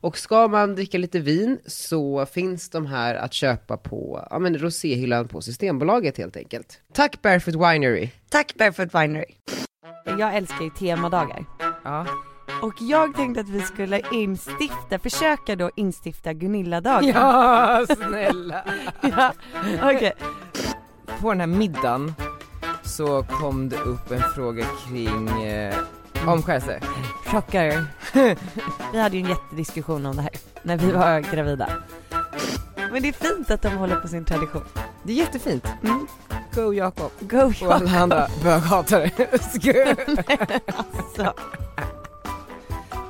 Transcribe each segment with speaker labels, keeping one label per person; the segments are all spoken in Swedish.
Speaker 1: Och ska man dricka lite vin så finns de här att köpa på ja, men roséhyllan på Systembolaget helt enkelt. Tack Barefoot Winery!
Speaker 2: Tack Barefoot Winery.
Speaker 3: Jag älskar ju temadagar.
Speaker 1: Ja.
Speaker 3: Och jag tänkte att vi skulle instifta, försöka då instifta Gunilla-dagen.
Speaker 1: ja, snälla!
Speaker 3: Ja, Okej,
Speaker 1: På den här middagen så kom det upp en fråga kring eh, omskärelse.
Speaker 3: chockar. Vi hade ju en jättediskussion om det här när vi var gravida. Men det är fint att de håller på sin tradition.
Speaker 1: Det är jättefint.
Speaker 3: Mm.
Speaker 1: Go Jakob!
Speaker 3: Go
Speaker 1: Och alla andra böghatare. Skö.
Speaker 3: alltså.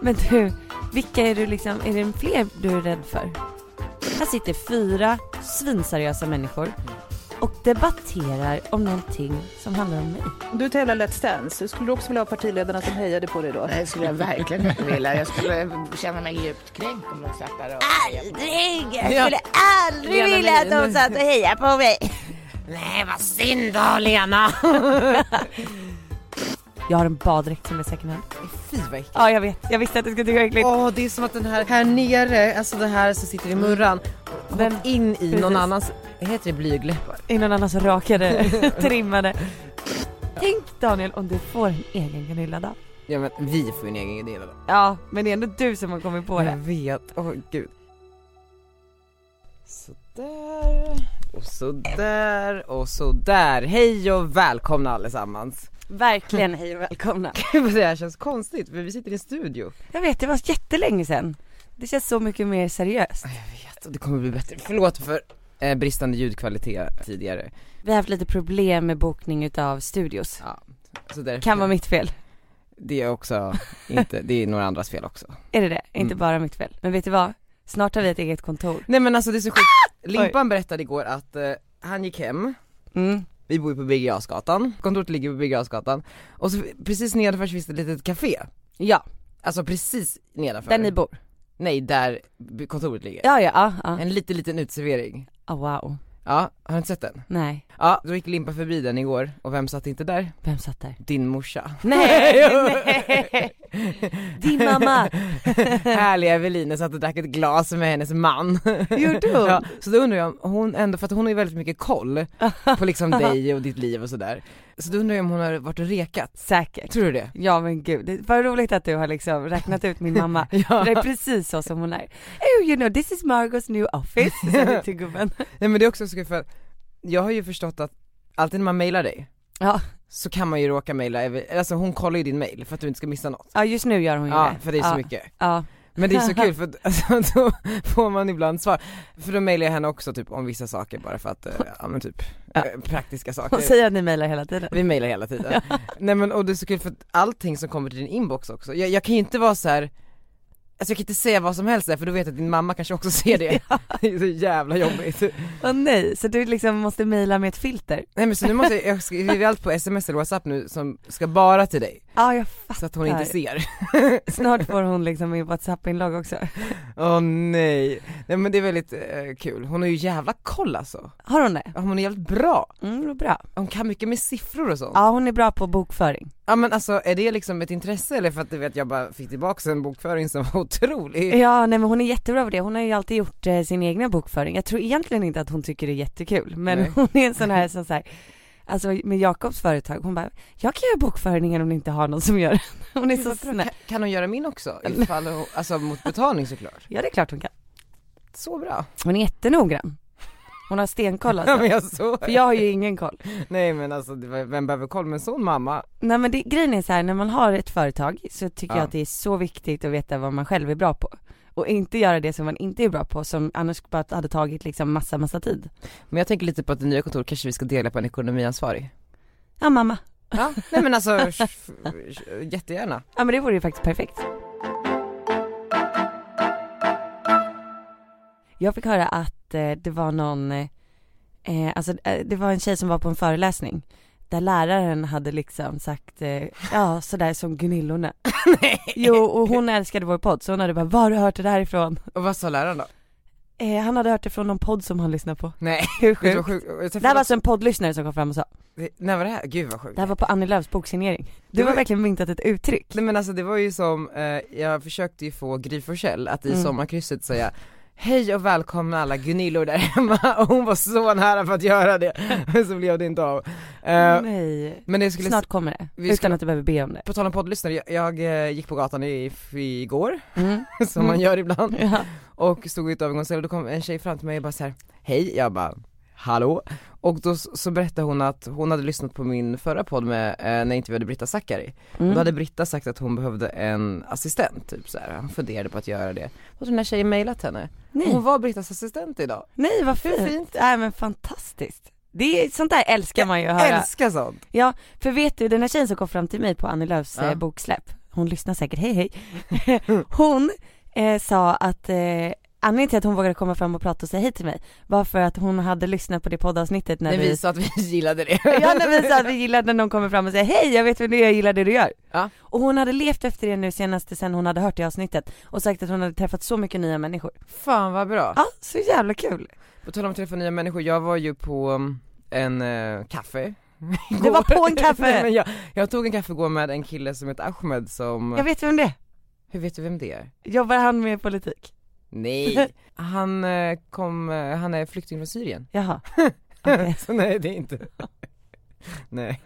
Speaker 3: Men du, vilka är du liksom, är det fler du är rädd för? Här sitter fyra svinseriösa människor och debatterar om någonting som handlar om mig.
Speaker 4: Du tävlar Let's Dance. Skulle du också vilja ha partiledarna som hejade på dig då?
Speaker 5: Nej, det skulle jag verkligen inte vilja. Jag skulle känna mig djupt kränkt om de satt där och...
Speaker 2: Aldrig! Jag
Speaker 1: Ja.
Speaker 2: skulle aldrig
Speaker 1: Lena
Speaker 2: vilja att
Speaker 1: Melin.
Speaker 2: de satt och hejade på mig.
Speaker 5: Nej, vad synd då, Lena!
Speaker 3: Jag har en baddräkt som är second hand.
Speaker 1: Fy vad äckligt.
Speaker 3: Ja, jag vet. Jag visste att du skulle tycka det var äckligt.
Speaker 1: Åh, det är som att den här, här nere, alltså den här som sitter i murran,
Speaker 3: Vem-
Speaker 1: vem in i någon
Speaker 3: Precis.
Speaker 1: annans, heter det blygläppar?
Speaker 3: Innan annars rakade, trimmade. Tänk Daniel om du får en egen Gunilla-dag.
Speaker 1: Ja men vi får ju en egen idé då.
Speaker 3: Ja, men det är ändå du som har kommit på
Speaker 1: Jag
Speaker 3: det.
Speaker 1: vet, åh gud. Sådär, och sådär, och sådär. Hej och välkomna allesammans.
Speaker 3: Verkligen, hej och välkomna.
Speaker 1: Gud vad det här känns konstigt, för vi sitter i en studio.
Speaker 3: Jag vet, det var jättelänge sedan. Det känns så mycket mer seriöst.
Speaker 1: Vet, Det kommer bli bättre, förlåt för eh, bristande ljudkvalitet tidigare.
Speaker 3: Vi har haft lite problem med bokning utav studios.
Speaker 1: Ja, så därför,
Speaker 3: Kan vara mitt fel.
Speaker 1: Det är också inte, det är några andras fel också.
Speaker 3: Är det det? Inte
Speaker 1: Mm.
Speaker 3: bara mitt fel. Men vet du vad? Snart har vi ett eget kontor.
Speaker 1: Nej men alltså det är så sjukt, Limpan berättade igår att eh, han gick hem,
Speaker 3: Mm.
Speaker 1: vi bor ju på Birger Jarlsgatan, kontoret ligger på Birger Jarlsgatan, och så precis nedanför finns det ett litet café,
Speaker 3: Ja,
Speaker 1: alltså precis nedanför.
Speaker 3: där ni bor.
Speaker 1: Nej, där b- kontoret ligger.
Speaker 3: Ja, ja, ja. ja.
Speaker 1: En liten liten uteservering.
Speaker 3: Ah, wow.
Speaker 1: Ja, har du inte sett den?
Speaker 3: Nej,
Speaker 1: Ja, då gick Limpa förbi den igår, och vem satt inte där?
Speaker 3: vem satt där?
Speaker 1: Din morsa.
Speaker 3: Nej, nej. Din mamma.
Speaker 1: Härliga Evelina satt och drack ett glas med hennes man.
Speaker 3: Gjorde hon?
Speaker 1: Ja, så då undrar jag om hon ändå, för att hon har ju väldigt mycket koll på liksom dig och ditt liv och sådär. Så då undrar jag om hon har varit och rekat.
Speaker 3: Säkert.
Speaker 1: Tror du det?
Speaker 3: Ja men gud, det var roligt att du har liksom räknat ut min mamma.
Speaker 1: Ja.
Speaker 3: Det är precis så som hon är. Oh, you know this is Margos new office, sa vi till gubben.
Speaker 1: Nej men det är också så kul för att jag har ju förstått att alltid när man mailar dig
Speaker 3: Ja.
Speaker 1: så kan man ju råka mejla, Eve- alltså hon kollar ju din mail för att du inte ska missa något.
Speaker 3: Ja just nu gör hon ju
Speaker 1: Ja,
Speaker 3: det.
Speaker 1: för det är så
Speaker 3: ja.
Speaker 1: mycket.
Speaker 3: Ja.
Speaker 1: Men det är så kul för att, alltså, då får man ibland svar. För då mailar jag henne också typ om vissa saker bara för att, eh, ja men typ
Speaker 3: Ja.
Speaker 1: eh, praktiska saker.
Speaker 3: Hon säger att ni mejlar hela tiden.
Speaker 1: Vi mailar hela tiden. Nej men och det är så kul för att allting som kommer till din inbox också, jag, jag kan ju inte vara så här. Alltså jag kan inte säga vad som helst där för då vet jag att din mamma kanske också ser det. Det är så jävla jobbigt.
Speaker 3: Åh nej, så du liksom måste mejla med ett filter?
Speaker 1: Nej men så nu måste jag, jag skriver allt på sms eller whatsapp nu som ska bara till dig.
Speaker 3: Ja jag fattar.
Speaker 1: Så att hon inte ser.
Speaker 3: Snart får hon liksom min WhatsApp-inlogg också.
Speaker 1: Åh nej. Nej men det är väldigt eh, kul, hon har ju jävla koll alltså.
Speaker 3: Har hon det?
Speaker 1: Ja, Hon är jävligt bra.
Speaker 3: Mm, vad bra.
Speaker 1: Hon kan mycket med siffror och sånt.
Speaker 3: Ja hon är bra på bokföring.
Speaker 1: Ja men alltså är det liksom ett intresse eller för att du vet jag bara fick tillbaka en bokföring som var otrolig.
Speaker 3: Ja nej men hon är jättebra på det, hon har ju alltid gjort eh, sin egna bokföring. Jag tror egentligen inte att hon tycker det är jättekul men
Speaker 1: Nej.
Speaker 3: hon är en sån här som såhär, alltså med Jakobs företag, hon bara, jag kan göra bokföringen om ni inte har någon som gör den. Hon är så snäll.
Speaker 1: Kan hon göra min också? Ifall hon, alltså mot betalning såklart.
Speaker 3: Ja det är klart hon kan.
Speaker 1: Så bra.
Speaker 3: Hon är jättenoggrann. Hon har stenkoll
Speaker 1: Ja,
Speaker 3: alltså.
Speaker 1: men jag så.
Speaker 3: För jag har ju ingen koll.
Speaker 1: Nej men alltså det var- vem behöver koll med en sån mamma?
Speaker 3: Nej men det, grejen är så här, när man har ett företag så tycker
Speaker 1: Ja.
Speaker 3: jag att det är så viktigt att veta vad man själv är bra på. Och inte göra det som man inte är bra på som annars bara hade tagit liksom massa, massa tid.
Speaker 1: Men jag tänker lite på att det nya kontoret kanske vi ska dela på en ekonomiansvarig.
Speaker 3: Ja mamma.
Speaker 1: Ja, nej men alltså f- f- jättegärna.
Speaker 3: Ja men det vore ju faktiskt perfekt. Jag fick höra att eh, det var någon, eh, eh, alltså eh, det var en tjej som var på en föreläsning där läraren hade liksom sagt, eh, ja sådär som Gunillorna. Jo och hon älskade vår podd så hon hade bara, var har du hört det där ifrån?
Speaker 1: Och vad sa läraren då?
Speaker 3: Eh, han hade hört det från någon podd som han lyssnade på.
Speaker 1: Nej,
Speaker 3: Hur
Speaker 1: det var sjukt.
Speaker 3: sjukt?
Speaker 1: Jag
Speaker 3: Det här
Speaker 1: träffade
Speaker 3: var alltså en poddlyssnare som kom fram och sa,
Speaker 1: Det- När var det här? Gud vad sjukt.
Speaker 3: det här var på Annie Lööfs boksignering.
Speaker 1: Det
Speaker 3: Du har
Speaker 1: var-
Speaker 3: verkligen myntat ett uttryck.
Speaker 1: Nej men alltså det var ju som, eh, jag försökte ju få Gry Forssell att i
Speaker 3: Mm.
Speaker 1: sommarkrysset säga Hej och välkomna alla Gunillor där hemma och hon var så nära för att göra det, men så blev det inte av. Eh,
Speaker 3: Mm. Nej.
Speaker 1: men det skulle,
Speaker 3: Snart kommer det,
Speaker 1: vi
Speaker 3: utan
Speaker 1: skulle-
Speaker 3: att du behöver be om det.
Speaker 1: på tal om poddlyssnare, jag, jag eh, gick på gatan i, i igår,
Speaker 3: Mm.
Speaker 1: som man
Speaker 3: Mm.
Speaker 1: gör ibland,
Speaker 3: Ja.
Speaker 1: och stod i ett övergångsställe och då kom en tjej fram till mig och bara så här, hej, jag bara hallå? Och då s- så berättade hon att hon hade lyssnat på min förra podd med, eh, när jag intervjuade Britta Zackari
Speaker 3: Mm.
Speaker 1: Då hade Britta sagt att hon behövde en assistent, typ så här. hon funderade på att göra det. Då hade den här tjejen mejlat henne. Och
Speaker 3: Nej.
Speaker 1: Hon var Brittas assistent idag.
Speaker 3: Nej vad fint.
Speaker 1: fint.
Speaker 3: Nej men fantastiskt. Det är, sånt där älskar man ju att höra.
Speaker 1: Älskar sånt!
Speaker 3: Ja, för vet du den här tjejen som kom fram till mig på Annie Lööfs
Speaker 1: Ja.
Speaker 3: eh, boksläpp, hon lyssnar säkert, hej hej. hon eh, sa att eh, anledningen till att hon vågade komma fram och prata och säga hej till mig var för att hon hade lyssnat på det poddavsnittet när
Speaker 1: När
Speaker 3: vi
Speaker 1: vi sa att vi gillade det.
Speaker 3: Ja när vi sa att vi gillade när någon kommer fram och säger hej jag vet vad det är, jag gillar det du gör.
Speaker 1: Ja.
Speaker 3: Och hon hade levt efter det nu senaste sen hon hade hört det avsnittet och sagt att hon hade träffat så mycket nya människor.
Speaker 1: Fan vad bra!
Speaker 3: Ja, så jävla kul.
Speaker 1: På tal om att träffa nya människor, jag var ju på um, en eh, kaffe.
Speaker 3: Det var på en kaffe.
Speaker 1: Nej, men jag, jag tog en kaffe igår med en kille som heter Ahmed som,
Speaker 3: Jag vet vem det är.
Speaker 1: hur vet du vem det är?
Speaker 3: Jobbar han med politik?
Speaker 1: Nej! Han eh, kom, eh, han är flykting från Syrien.
Speaker 3: Jaha. Okej.
Speaker 1: Så nej det är inte Nej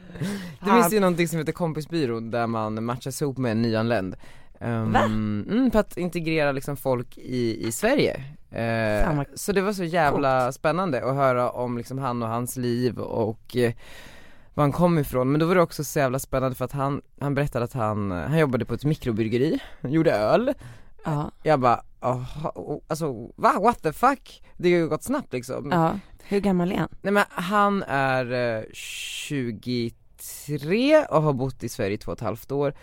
Speaker 1: Det
Speaker 3: Fan.
Speaker 1: finns ju någonting som heter kompisbyrån där man matchas ihop med en nyanländ Ehm,
Speaker 3: Va?
Speaker 1: Mm, för att integrera liksom folk i, i Sverige Eh,
Speaker 3: Fan, vad
Speaker 1: Så det var så jävla spännande att höra om liksom han och hans liv och eh, var han kom ifrån, men då var det också så jävla spännande för att han, han berättade att han, eh, han jobbade på ett mikrobryggeri, gjorde öl
Speaker 3: Ja,
Speaker 1: Jag bara, aha, oh, alltså va, what the fuck? Det har ju gått snabbt liksom
Speaker 3: ja. Hur gammal är han?
Speaker 1: Nej men han är eh, 23 och har bott i Sverige i två och ett halvt år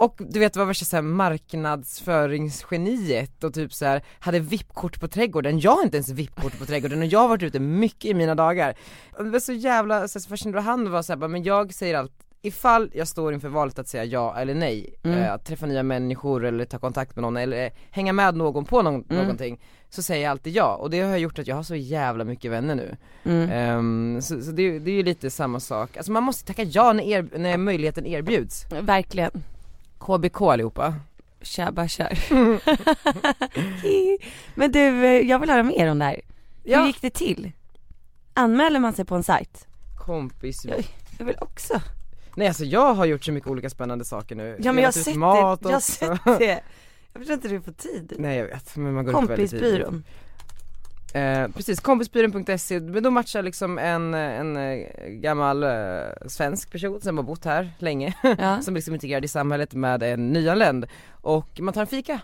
Speaker 1: och du vet vad värsta såhär marknadsföringsgeniet och typ så här hade VIP-kort på trädgården, jag har inte ens VIP-kort på trädgården och jag har varit ute mycket i mina dagar. Och Det var så jävla så här, så fascinerande och han var såhär men jag säger allt Ifall jag står inför valet att säga ja eller nej,
Speaker 3: Mm.
Speaker 1: eh, att träffa nya människor eller ta kontakt med någon eller eh, hänga med någon på någon,
Speaker 3: Mm.
Speaker 1: någonting, så säger jag alltid ja och det har gjort att jag har så jävla mycket vänner nu.
Speaker 3: Mm.
Speaker 1: Ehm, så så det, är ju- det är ju lite samma sak, alltså man måste tacka ja när, er, när möjligheten erbjuds
Speaker 3: Verkligen.
Speaker 1: KBK allihopa
Speaker 3: Kör, bara kör. Men du, eh, jag vill höra mer om det här. Hur
Speaker 1: Ja,
Speaker 3: gick det till? Anmäler man sig på en sajt?
Speaker 1: kompis
Speaker 3: Jag vill också.
Speaker 1: Nej alltså jag har gjort så mycket olika spännande saker nu
Speaker 3: Ja men jag har
Speaker 1: Delat ut
Speaker 3: sett det.
Speaker 1: mat
Speaker 3: Jag har
Speaker 1: också.
Speaker 3: sett det. Jag förstår inte hur du får tid.
Speaker 1: Nej jag vet, men man går upp väldigt tidigt
Speaker 3: Kompisbyrån.
Speaker 1: eh, Precis, kompisbyrån.se, men då matchar liksom en, en eh, gammal eh, svensk person som har bott här länge,
Speaker 3: Ja.
Speaker 1: som liksom är integrerad i samhället med en nyanländ och man tar en fika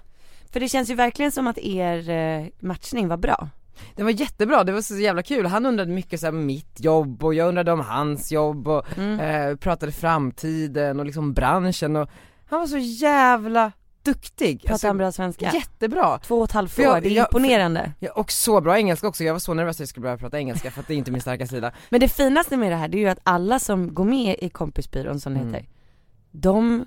Speaker 3: För det känns ju verkligen som att er eh, matchning var bra.
Speaker 1: Den var jättebra, det var så jävla kul. Han undrade mycket så här, om mitt jobb och jag undrade om hans jobb och
Speaker 3: Mm.
Speaker 1: eh, pratade framtiden och liksom branschen och han var så jävla duktig.
Speaker 3: Pratar han bra svenska?
Speaker 1: Jättebra!
Speaker 3: Två och ett halvt
Speaker 1: Alltså, För
Speaker 3: år,
Speaker 1: jag-
Speaker 3: det är
Speaker 1: jag-
Speaker 3: imponerande.
Speaker 1: Ja, och så bra engelska också, jag var så nervös att jag skulle börja prata engelska för att det är inte min starka sida.
Speaker 3: Men det finaste med det här det är ju att alla som går med i kompisbyrån som det
Speaker 1: Mm.
Speaker 3: heter, de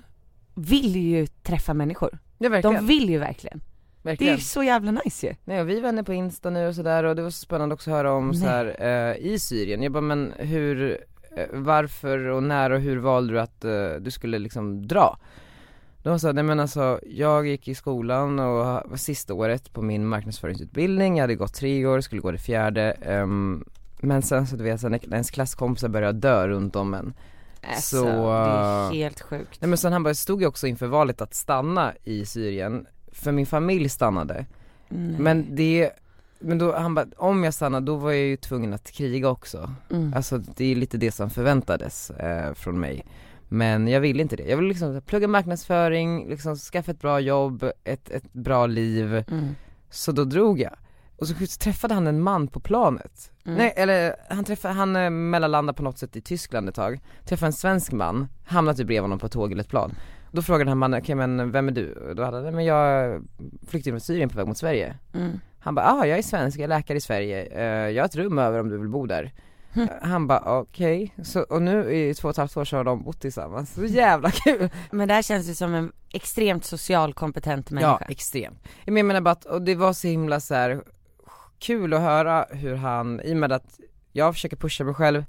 Speaker 3: vill ju träffa människor.
Speaker 1: Ja verkligen,
Speaker 3: De vill ju verkligen. Det är
Speaker 1: verkligen.
Speaker 3: ju så jävla nice ju.
Speaker 1: Nej, och vi är vänner på Insta nu och sådär och det var så spännande också att höra om
Speaker 3: Nej.
Speaker 1: så här, eh, i Syrien. Jag bara men hur, eh, varför och när och hur valde du att eh, du skulle liksom dra? De sa, nej men alltså jag gick i skolan och var sista året på min marknadsföringsutbildning, jag hade gått tre år, skulle gå det fjärde ehm, Men sen så du vet, sen när ens klasskompisar började dö runt om en
Speaker 3: Alltså,
Speaker 1: Så-
Speaker 3: det är helt sjukt.
Speaker 1: Nej men sen han bara, stod jag också inför valet att stanna i Syrien, för min familj stannade
Speaker 3: Mm.
Speaker 1: men det, men då, han bara, om jag stannar då var jag ju tvungen att kriga också.
Speaker 3: Mm.
Speaker 1: Alltså det är lite det som förväntades eh, från mig. Men jag ville inte det. Jag ville liksom plugga marknadsföring, liksom skaffa ett bra jobb, ett, ett bra liv.
Speaker 3: Mm.
Speaker 1: Så då drog jag. Och så träffade han en man på planet.
Speaker 3: Mm.
Speaker 1: Nej eller han träffade, han eh, mellanlandade på något sätt i Tyskland ett tag. Träffade en svensk man, hamnade typ bredvid honom på ett tåg eller ett plan. Då frågade han mannen, okej men vem är du? Och Då hade han, "Nej, men jag är flykting från Syrien på väg mot Sverige.
Speaker 3: Mm.
Speaker 6: Han bara, ah jag är svensk, jag är läkare i Sverige, Eh, jag har ett rum över om du vill bo där Eh, Han bara okej, Så- och nu i två och ett halvt år så har de bott tillsammans, så jävla kul!
Speaker 3: Men det här känns ju som en extremt social kompetent människa.
Speaker 6: Ja, extremt. Men jag menar bara att, och det var så himla så här kul att höra hur han, i och med att jag försöker pusha mig själv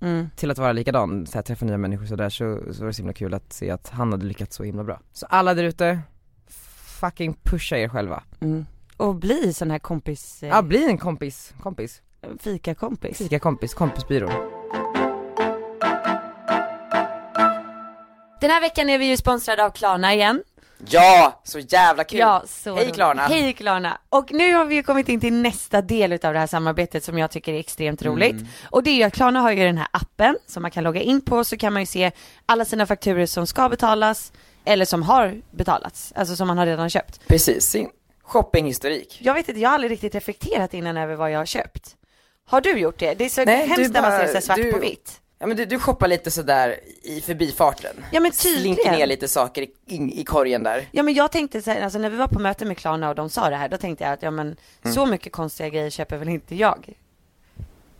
Speaker 3: Mm.
Speaker 6: till att vara likadan, så här, träffa nya människor sådär så, så var det så himla kul att se att han hade lyckats så himla bra. Så alla där ute, fucking pusha er själva.
Speaker 3: Mm. Och bli sån här kompis,
Speaker 6: Ja,
Speaker 3: eh,
Speaker 6: bli en kompis, kompis,
Speaker 3: fikakompis.
Speaker 6: fika kompis, kompisbyrån.
Speaker 3: Den här veckan är vi ju sponsrade av Klarna igen.
Speaker 6: Ja, så jävla kul!
Speaker 3: Ja, så
Speaker 6: Hej,
Speaker 3: roligt.
Speaker 6: Klarna.
Speaker 3: Hej Klarna! Och nu har vi ju kommit in till nästa del utav det här samarbetet som jag tycker är extremt
Speaker 6: Mm.
Speaker 3: roligt. Och det är ju att Klarna har ju den här appen som man kan logga in på så kan man ju se alla sina fakturer som ska betalas eller som har betalats, alltså som man har redan köpt.
Speaker 6: Precis, sin shoppinghistorik.
Speaker 3: Jag vet inte, jag har aldrig riktigt reflekterat innan över vad jag har köpt. Har du gjort det? Det är så
Speaker 6: Nej, du
Speaker 3: hemskt när man
Speaker 6: bara-
Speaker 3: ser så här svart
Speaker 6: du-
Speaker 3: på vitt.
Speaker 6: Ja men du, du shoppar lite sådär i förbifarten.
Speaker 3: Ja men
Speaker 6: Slinker ner
Speaker 3: tydligen.
Speaker 6: lite saker i, i, i korgen där.
Speaker 3: Ja men jag tänkte så här, alltså när vi var på möte med Klarna och de sa det här, då tänkte jag att ja men så mycket konstiga grejer köper väl inte jag.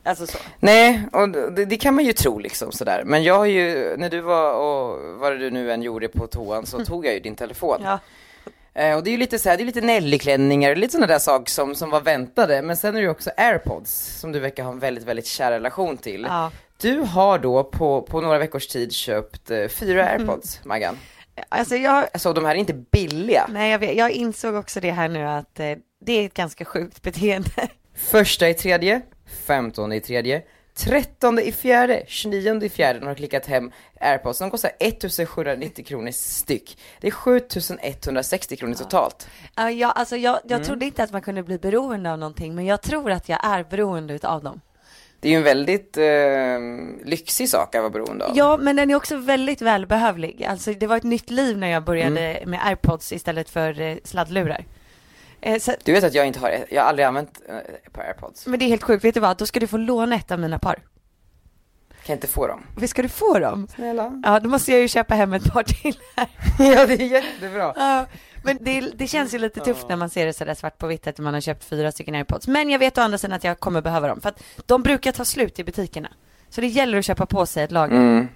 Speaker 3: Alltså så.
Speaker 6: Nej, och det, det kan man ju tro liksom sådär. Men jag har ju, när du var och vad du nu än gjorde på toan så tog jag ju din telefon.
Speaker 3: Mm. Ja.
Speaker 6: Eh, och det är ju lite såhär, det är lite Nelly-klänningar, lite sådana där saker som, som var väntade. Men sen är det ju också airpods som du verkar ha en väldigt, väldigt kär relation till.
Speaker 3: Ja.
Speaker 6: Du har då på, på några veckors tid köpt eh, fyra
Speaker 3: Mhm.
Speaker 6: airpods, Maggan.
Speaker 3: Alltså jag,
Speaker 6: Alltså de här är inte billiga.
Speaker 3: nej jag, vet, jag insåg också det här nu att eh, det är ett ganska sjukt beteende.
Speaker 6: Första i tredje, femtonde i tredje, trettonde i fjärde, tjugonionde i fjärde, de har klickat hem airpods. De kostar 1790 kronor styck. Det är 7160 kronor totalt.
Speaker 3: Ja, jag, alltså jag, jag trodde inte att man kunde bli beroende av någonting men jag tror att jag är beroende utav dem.
Speaker 6: Det är ju en väldigt eh, lyxig sak att vara beroende av.
Speaker 3: Ja men den är också väldigt välbehövlig. Alltså det var ett nytt liv när jag började med airpods istället för eh, sladdlurar. Eh, så,
Speaker 6: Du vet att jag inte har, jag har aldrig använt eh, ett par airpods.
Speaker 3: men det är helt sjukt, vet du vad? Då ska du få låna ett av mina par.
Speaker 6: Kan inte få dem.
Speaker 3: Visst ska du få dem?
Speaker 6: Snälla.
Speaker 3: Ja, då måste jag ju köpa hem ett par till här.
Speaker 6: ja det är jättebra.
Speaker 3: Ja, men det, det känns ju lite tufft när man ser det sådär svart på vitt att man har köpt fyra stycken airpods. Men jag vet å andra sidan att jag kommer behöva dem för att de brukar ta slut i butikerna. Så det gäller att köpa på sig ett lager.
Speaker 6: Mm.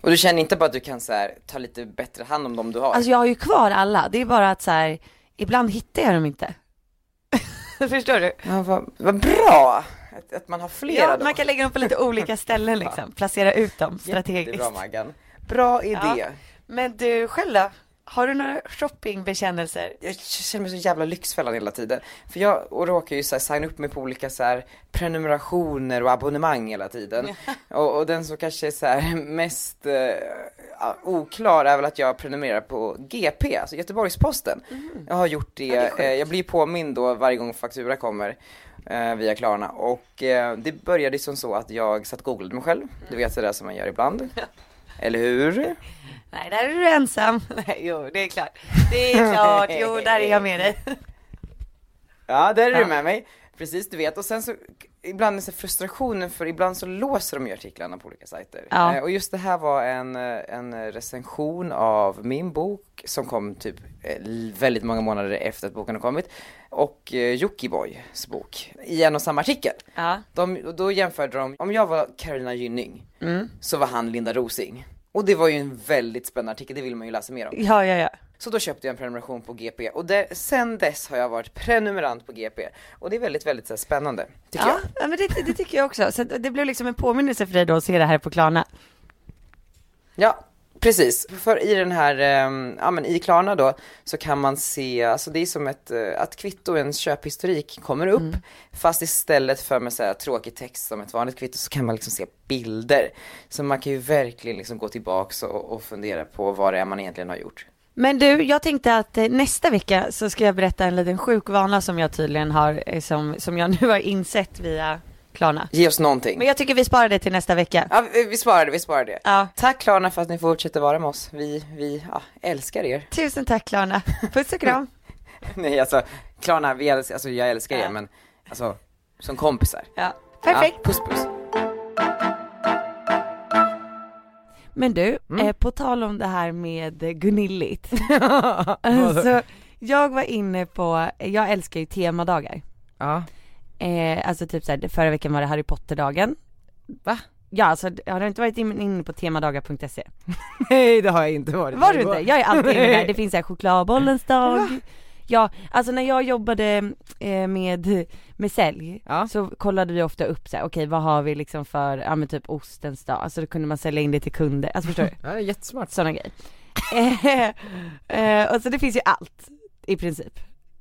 Speaker 6: Och du känner inte bara att du kan så här, ta lite bättre hand om dem du har?
Speaker 3: Alltså jag har ju kvar alla, det är bara att så här, ibland hittar jag dem inte. Förstår du?
Speaker 6: ja, vad, vad bra att, att man har flera
Speaker 3: Ja,
Speaker 6: då.
Speaker 3: man kan lägga dem på lite olika ställen liksom, placera ut dem strategiskt.
Speaker 6: Jättebra Maggan. Bra idé.
Speaker 3: Ja. Men du själv då? Har du några shoppingbekännelser?
Speaker 6: Jag känner mig så jävla lyxfällan hela tiden. För jag och råkar ju så här signa upp mig på olika så här prenumerationer och abonnemang hela tiden. och, och den som kanske är så här mest eh, ja, oklar är väl att jag prenumererar på GP, alltså Göteborgs-Posten. Jag har gjort Mm. det, eh, jag blir påmind då varje gång faktura kommer. eh, via Klarna och eh, det började som så att jag satt och googlade mig själv, du vet det där som man gör ibland. Eller hur?
Speaker 3: Nej, där är du ensam. Nej, jo, det är klart. Det är klart. Jo, där är jag med dig.
Speaker 6: Ja, där är
Speaker 3: Ja.
Speaker 6: du med mig. Precis, du vet. Och sen så, ibland är så frustrationen för ibland så låser de ju artiklarna på olika sajter.
Speaker 3: Ja.
Speaker 6: Eh, Och just det här var en, eh, en recension av min bok som kom typ eh, väldigt många månader efter att boken har kommit. Och eh, Jockiboi-s bok i en och samma artikel.
Speaker 3: Ja.
Speaker 6: De, och då jämförde de, om jag var Carolina Gynning
Speaker 3: Mm.
Speaker 6: så var han Linda Rosing. Och det var ju en väldigt spännande artikel, det vill man ju läsa mer om.
Speaker 3: Ja, ja, ja.
Speaker 6: Så då köpte jag en prenumeration på GP och där, sen dess har jag varit prenumerant på GP och det är väldigt, väldigt så här, spännande tycker
Speaker 3: Ja,
Speaker 6: jag.
Speaker 3: ja, men det, det tycker jag också. Så att det blev liksom en påminnelse för dig då att se det här på Klarna.
Speaker 6: Ja, precis. För i den här, ehm, ja men i Klarna då så kan man se, alltså det är som ett, eh, att kvitto och ens köphistorik kommer upp fast istället för med så här tråkig text som ett vanligt kvitto så kan man liksom se bilder. Så man kan ju verkligen liksom gå tillbaks och, och fundera på vad det är man egentligen har gjort.
Speaker 3: Men du, jag tänkte att eh, nästa vecka så ska jag berätta en liten sjuk vana som jag tydligen har, eh, som, som jag nu har insett via Klarna.
Speaker 6: Ge oss någonting.
Speaker 3: Men jag tycker vi sparar det till nästa vecka.
Speaker 6: Ja, vi, vi sparar det, vi sparar det.
Speaker 3: Ja.
Speaker 6: Tack Klarna för att ni fortsätter vara med oss. Vi, vi ja, älskar er.
Speaker 3: Tusen tack Klarna. Puss och kram.
Speaker 6: Nej alltså, Klarna, vi älskar, alltså jag älskar
Speaker 3: Ja.
Speaker 6: er men alltså, som kompisar.
Speaker 3: Ja. Perfekt.
Speaker 6: Ja, puss puss.
Speaker 1: Mm.
Speaker 3: Men du, eh, på tal om det här med eh, Gunilligt. alltså, Jag var inne på, jag älskar ju temadagar.
Speaker 1: Ja,
Speaker 3: Eh, alltså typ såhär, förra veckan var det Harry Potter-dagen.
Speaker 1: Va?
Speaker 3: Ja alltså har du inte varit in- inne på temadagar.se?
Speaker 1: nej det har jag inte varit
Speaker 3: Var du inte? Jag är alltid inne där,
Speaker 1: Nej.
Speaker 3: det finns såhär chokladbollens dag. Ja, alltså när jag jobbade eh, med, med sälj
Speaker 1: Ja.
Speaker 3: så kollade vi ofta upp såhär, okej vad har vi liksom för, ja men typ ostens dag, alltså då kunde man sälja in det till kunder, alltså förstår du?
Speaker 1: Ja, det är jättesmart
Speaker 3: sådana grejer. Eh, eh, och så det finns ju allt i princip.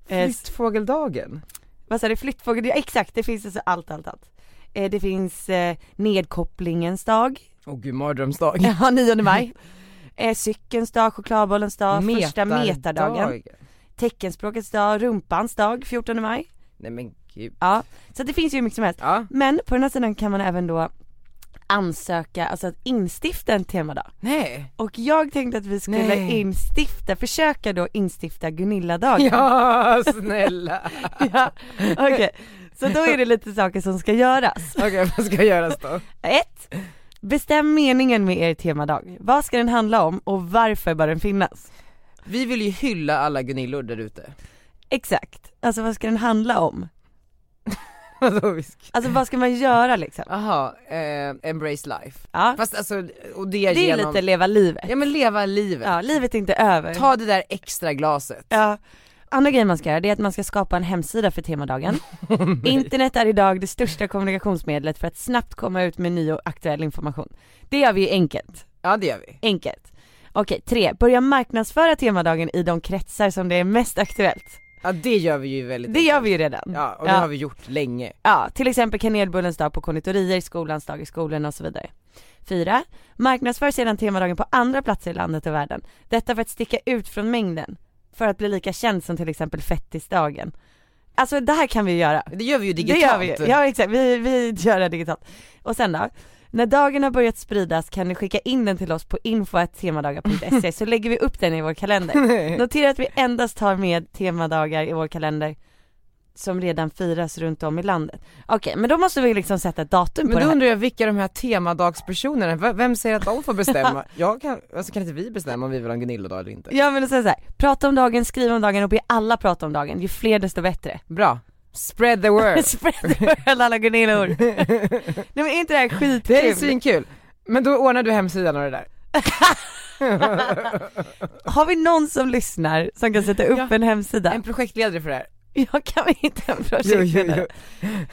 Speaker 3: Eh, s-
Speaker 1: Flyttfågeldagen
Speaker 3: vad sa du, flyttfågel, ja, exakt det finns alltså allt, allt, allt. Eh, det finns eh, nedkopplingens dag,
Speaker 1: Åh gud, mardrömsdag
Speaker 3: ja 9 maj. Eh, cykelns dag, chokladbollens dag, första metardagen,
Speaker 1: Metardag.
Speaker 3: teckenspråkets dag, rumpans dag 14 maj.
Speaker 1: Nej men gud
Speaker 3: Ja, så det finns ju hur mycket som helst.
Speaker 1: Ja,
Speaker 3: Men på den här sidan kan man även då ansöka, alltså att instifta en temadag.
Speaker 1: nej
Speaker 3: Och jag tänkte att vi skulle
Speaker 1: Nej.
Speaker 3: instifta, försöka då instifta Gunilla-dagen.
Speaker 1: Ja, snälla
Speaker 3: Ja, Okej, så då är det lite saker som ska göras.
Speaker 1: Okej, vad ska göras då?
Speaker 3: Ett, Bestäm meningen med er temadag. Vad ska den handla om och varför bör den finnas?
Speaker 1: Vi vill ju hylla alla Gunillor där ute
Speaker 3: Exakt, alltså vad ska den handla om?
Speaker 1: Vadå visk?
Speaker 3: Alltså vad ska man göra liksom?
Speaker 1: Jaha, eh, embrace life
Speaker 3: Ja,
Speaker 1: Fast alltså, och det,
Speaker 3: det är
Speaker 1: genom
Speaker 3: lite leva livet.
Speaker 1: Ja men leva livet
Speaker 3: Ja, livet är inte över.
Speaker 1: Ta det där extra glaset
Speaker 3: Ja. Andra grejen man ska göra det är att man ska skapa en hemsida för temadagen. Internet är idag det största kommunikationsmedlet för att snabbt komma ut med ny och aktuell information. Det gör vi ju enkelt.
Speaker 1: Ja det gör vi
Speaker 3: Enkelt. Okej, tre. Börja marknadsföra temadagen i de kretsar som det är mest aktuellt.
Speaker 1: Ja det gör vi ju väldigt
Speaker 3: Det gör vi ju redan.
Speaker 1: Ja och det
Speaker 3: Ja.
Speaker 1: har vi gjort länge
Speaker 3: Ja, till exempel kanelbullens dag på konditorier, skolans dag i skolorna och så vidare. Fyra. Marknadsför sedan temadagen på andra platser i landet och världen. Detta för att sticka ut från mängden. För att bli lika känd som till exempel fettisdagen. Alltså det här kan vi ju göra.
Speaker 1: Det gör vi ju digitalt
Speaker 3: Det gör vi ju. Ja exakt, vi, vi gör det digitalt. Och sen då? När dagen har börjat spridas kan ni skicka in den till oss på info.temadagar.se så lägger vi upp den i vår
Speaker 1: Mm.
Speaker 3: kalender. Notera att vi endast tar med temadagar i vår kalender som redan firas runt om i landet. Okej, men då måste vi liksom sätta ett datum på
Speaker 1: Men
Speaker 3: det
Speaker 1: då
Speaker 3: här.
Speaker 1: undrar jag vilka de här temadagspersonerna, är. V- vem säger att de får bestämma? Jag kan, alltså kan inte vi bestämma om vi vill ha en Gunilla-dag eller inte?
Speaker 3: Ja men och sen så här, prata om dagen, skriv om dagen och be alla prata om dagen. Ju fler desto bättre.
Speaker 1: Bra, spread the word!
Speaker 3: Spread the word, alla Gunillor. Nej men är inte det här skitkul?
Speaker 1: Det är svinkul! Men då ordnar du hemsidan och det där?
Speaker 3: Har vi någon som lyssnar som kan sätta upp
Speaker 1: Ja.
Speaker 3: en hemsida?
Speaker 1: En projektledare för det här?
Speaker 3: Jag kan vi inte en projektledare.